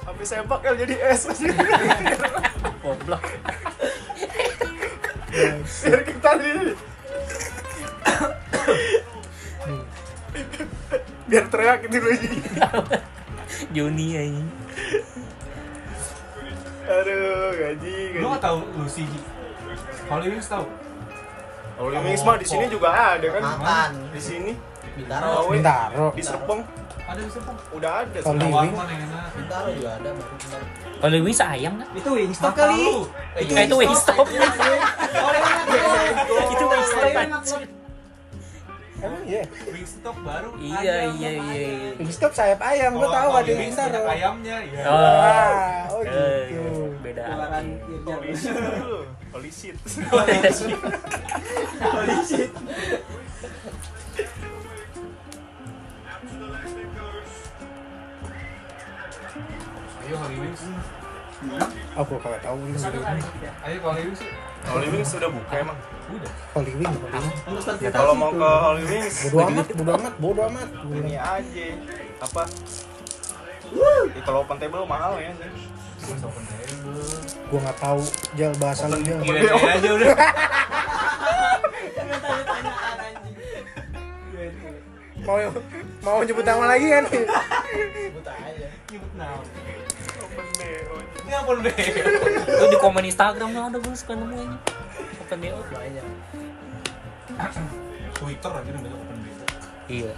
[SPEAKER 8] habis saya bakal jadi es
[SPEAKER 7] Goblok.
[SPEAKER 8] biar kita ini biar teriak itu lagi
[SPEAKER 7] Joni ya, ini.
[SPEAKER 8] aduh gaji
[SPEAKER 4] Lu
[SPEAKER 8] gaji
[SPEAKER 4] nggak tahu Lucy Holy Wings tahu?
[SPEAKER 8] Holy Wings mah di sini juga ada kan
[SPEAKER 6] Makan.
[SPEAKER 8] di sini
[SPEAKER 6] Bintaro.
[SPEAKER 8] Oh, iya.
[SPEAKER 1] Bintaro.
[SPEAKER 8] di Serpong
[SPEAKER 4] Ada di Serpong
[SPEAKER 8] udah ada
[SPEAKER 1] Holy
[SPEAKER 4] Ada
[SPEAKER 1] Wings.
[SPEAKER 4] warkon yang enak
[SPEAKER 6] Bintaro juga ada. baru kemarin.
[SPEAKER 7] Kalau Wings ayam kan?
[SPEAKER 3] Itu Wingstop kali.
[SPEAKER 4] Tahu.
[SPEAKER 7] Eh, itu Wingstop. Itu kan
[SPEAKER 5] Oh,
[SPEAKER 7] Wingstop.
[SPEAKER 5] iya,
[SPEAKER 7] anjing.
[SPEAKER 1] Emang iya.
[SPEAKER 4] Wingstop baru.
[SPEAKER 7] Iya, iya, iya. iya.
[SPEAKER 1] Wingstop sayap ayam, gua
[SPEAKER 4] Kalau
[SPEAKER 1] tahu
[SPEAKER 4] kalau
[SPEAKER 1] ada
[SPEAKER 4] di
[SPEAKER 1] Bintaro.
[SPEAKER 4] Wingstop Ayamnya ya.
[SPEAKER 7] Oh.
[SPEAKER 1] Ah, oh
[SPEAKER 7] Eh,
[SPEAKER 2] iya,
[SPEAKER 1] gitu.
[SPEAKER 7] beda.
[SPEAKER 3] Keluaran Irjal.
[SPEAKER 8] Holy shit dulu. Holy shit
[SPEAKER 4] Ayo Holy Wings.
[SPEAKER 1] Aku Oh, kagak tahu ini Holy Wings.
[SPEAKER 4] Ayo Holy Wings. yuk.
[SPEAKER 8] Holy Wings sudah buka emang
[SPEAKER 4] Udah.
[SPEAKER 1] Holy Wings, Holy Wings.
[SPEAKER 8] ya, kalau mau ke Holy Wings
[SPEAKER 1] Bodo amat, bodo amat, bodo amat.
[SPEAKER 8] ini aja apa Ya, kalau open table mahal ya anjir.
[SPEAKER 4] Terus open table.
[SPEAKER 1] Gua nggak tahu jal bahasa lu jal.
[SPEAKER 4] Gila aja udah.
[SPEAKER 1] Mau mau nyebut nama lagi kan?
[SPEAKER 6] Sebut aja.
[SPEAKER 4] Nyebut now.
[SPEAKER 8] open table
[SPEAKER 4] Ini apa deh?
[SPEAKER 7] Lu di komen Instagram lu ada gue suka nemu ini. Open DO.
[SPEAKER 6] Banyak.
[SPEAKER 4] Twitter aja udah banyak open table.
[SPEAKER 7] Iya.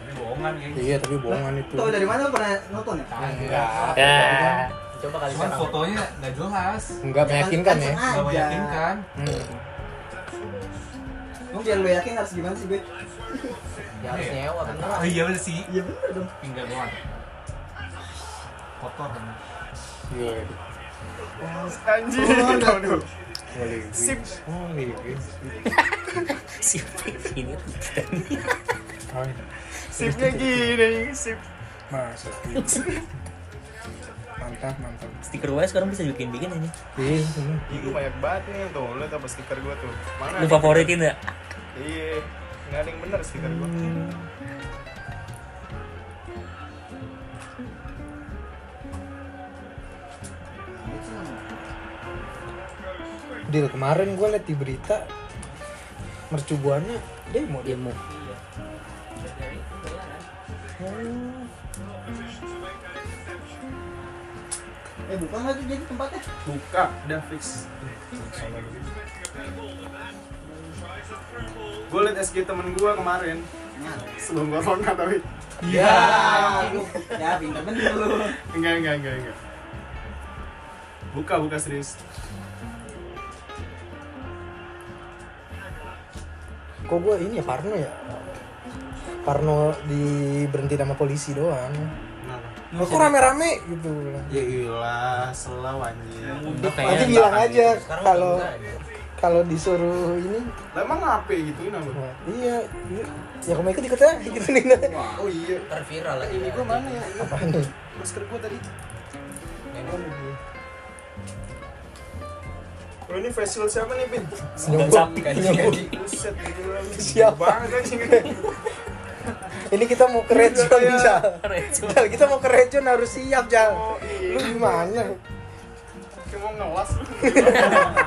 [SPEAKER 4] Ini bohongan ya.
[SPEAKER 1] Iya, tapi bohongan itu. Iya.
[SPEAKER 3] Tahu dari mana lu pernah nonton ya?
[SPEAKER 1] Enggak.
[SPEAKER 7] Ya.
[SPEAKER 6] Coba kali
[SPEAKER 4] Cuman
[SPEAKER 6] sekarang.
[SPEAKER 4] fotonya nggak jelas.
[SPEAKER 1] Enggak meyakinkan ya.
[SPEAKER 4] Nggak meyakinkan.
[SPEAKER 1] Hmm.
[SPEAKER 3] Emang biar lu yakin harus gimana sih, Bet?
[SPEAKER 6] Ya harus nyewa bener.
[SPEAKER 4] Ah iya bener sih.
[SPEAKER 3] Iya bener dong.
[SPEAKER 4] Tinggal doang. Kotor kan.
[SPEAKER 1] Iya.
[SPEAKER 8] anjir aduh
[SPEAKER 1] Holy Wings.
[SPEAKER 8] Sip.
[SPEAKER 1] Holy Wings.
[SPEAKER 7] Si Pip ini tuh kita nih.
[SPEAKER 1] Oh, iya.
[SPEAKER 8] sipnya gini sip
[SPEAKER 1] Masa sih. Mantap, mantap.
[SPEAKER 7] Stiker gue sekarang bisa bikin-bikin aja.
[SPEAKER 1] Iya, bener.
[SPEAKER 8] Ih, gua banyak banget nih tuh lihat apa stiker gua tuh mana
[SPEAKER 7] Lu
[SPEAKER 8] nih?
[SPEAKER 7] favoritin ya?
[SPEAKER 8] iya nggak ada yang bener stiker gua
[SPEAKER 1] Dil, kemarin gue liat di berita mercubuannya demo demo.
[SPEAKER 5] Dari bayaran.
[SPEAKER 1] Hmm.
[SPEAKER 3] eh bukan nggak tuh jadi tempatnya
[SPEAKER 4] buka udah fix
[SPEAKER 8] Gue liat SG temen gue kemarin
[SPEAKER 3] Nah,
[SPEAKER 8] Sebelum corona tapi
[SPEAKER 3] ya lu. ya pinter bener lu
[SPEAKER 8] Enggak, enggak, enggak, enggak Buka, buka serius
[SPEAKER 1] Kok gue ini ya Parno ya? Parno diberhenti sama polisi doang. Nah, kok rame-rame gitu.
[SPEAKER 8] Ya gila, selaw anjir
[SPEAKER 7] Udah
[SPEAKER 1] Nanti
[SPEAKER 7] kayak
[SPEAKER 1] bilang aja kalau kalau disuruh ini
[SPEAKER 8] Lah emang apa gituin apa?
[SPEAKER 1] Wah, iya iya. ya kalau ikut ikut aja gitu nih
[SPEAKER 8] Oh iya,
[SPEAKER 5] terviral lagi
[SPEAKER 8] ini gue mana ya? Iya,
[SPEAKER 1] apa nih
[SPEAKER 8] Masker gue tadi
[SPEAKER 5] Memang
[SPEAKER 8] Oh ini facial siapa nih, Pin?
[SPEAKER 1] senyum
[SPEAKER 7] Kecap,
[SPEAKER 1] gua.
[SPEAKER 5] kan
[SPEAKER 1] Senyum gua.
[SPEAKER 8] Buset, gila
[SPEAKER 1] Siapa?
[SPEAKER 8] Banget anjing
[SPEAKER 1] ini kita mau ke red zone
[SPEAKER 8] Iya.
[SPEAKER 1] Jal. Jal, kita mau ke red zone harus siap jal
[SPEAKER 8] Oh iya,
[SPEAKER 1] lu gimana
[SPEAKER 8] cuma ngelas lu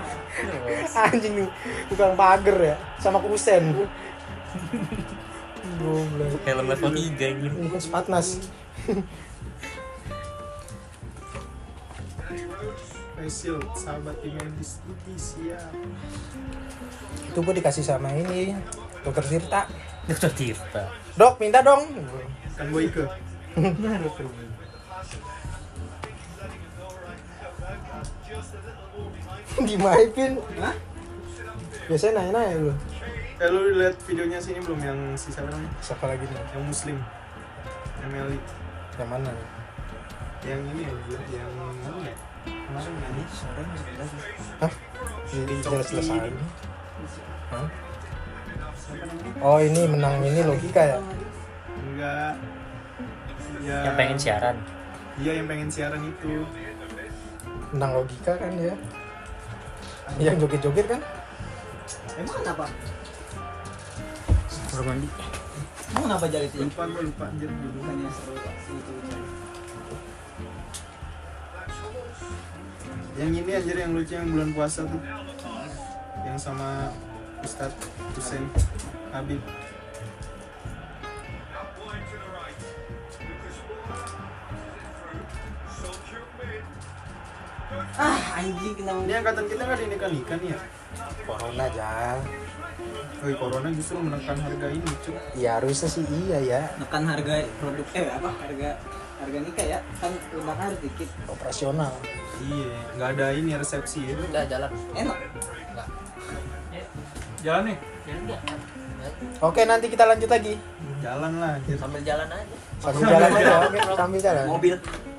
[SPEAKER 1] anjing nih tukang pagar ya sama kusen Goblok.
[SPEAKER 7] helm level 3 gitu.
[SPEAKER 1] Ini kan Spatnas.
[SPEAKER 8] Facial, sahabat Imendis Ini siap
[SPEAKER 1] Itu gue dikasih sama ini dokter Tirta.
[SPEAKER 7] Dokter Tirta.
[SPEAKER 1] Dok, minta dong.
[SPEAKER 8] Kan gue ikut
[SPEAKER 1] Dimaipin.
[SPEAKER 8] Hah?
[SPEAKER 1] Biasanya nanya-nanya lu.
[SPEAKER 8] Eh lu liat videonya sini belum yang si siapa namanya?
[SPEAKER 1] Siapa lagi nih?
[SPEAKER 8] Yang muslim Yang Meli
[SPEAKER 1] Yang mana? nih?
[SPEAKER 8] Yang ini ya, gua, yang mana ya? Kemarin yang ini
[SPEAKER 1] Jadi jelas-jelas
[SPEAKER 8] Coki.
[SPEAKER 1] aja. Hah? Oh ini menang ini logika ya?
[SPEAKER 8] Enggak ya,
[SPEAKER 7] Yang pengen siaran.
[SPEAKER 8] Iya yang pengen siaran itu
[SPEAKER 1] Menang logika kan ya? Yang joget-joget kan?
[SPEAKER 3] emang kenapa
[SPEAKER 7] Baru mandi.
[SPEAKER 3] emang kenapa jadi itu
[SPEAKER 8] Lupa gue lupa anjir dulu
[SPEAKER 3] bukannya seru sih itu
[SPEAKER 8] Yang ini anjir yang lucu yang bulan puasa tuh Yang sama Ustadz Hussein Habib
[SPEAKER 3] ah anjing kenapa
[SPEAKER 8] Ini angkatan kita nggak dinikah-nikah nih ya?
[SPEAKER 1] Corona aja.
[SPEAKER 8] Oh, corona justru menekan harga ini cuy
[SPEAKER 1] Ya harusnya sih iya ya.
[SPEAKER 3] nekan harga produk eh apa harga harga nikah ya kan lebaran harus dikit
[SPEAKER 1] Operasional.
[SPEAKER 8] Iya, nggak ada ini resepsi ya
[SPEAKER 5] Enggak jalan.
[SPEAKER 3] enak
[SPEAKER 4] jalan nih
[SPEAKER 5] Jalan enggak?
[SPEAKER 1] Oke nanti kita lanjut lagi.
[SPEAKER 8] Jalan lah anjir
[SPEAKER 5] Sambil jalan aja.
[SPEAKER 1] Sambil jalan aja. Oke, sambil jalan.
[SPEAKER 3] mobil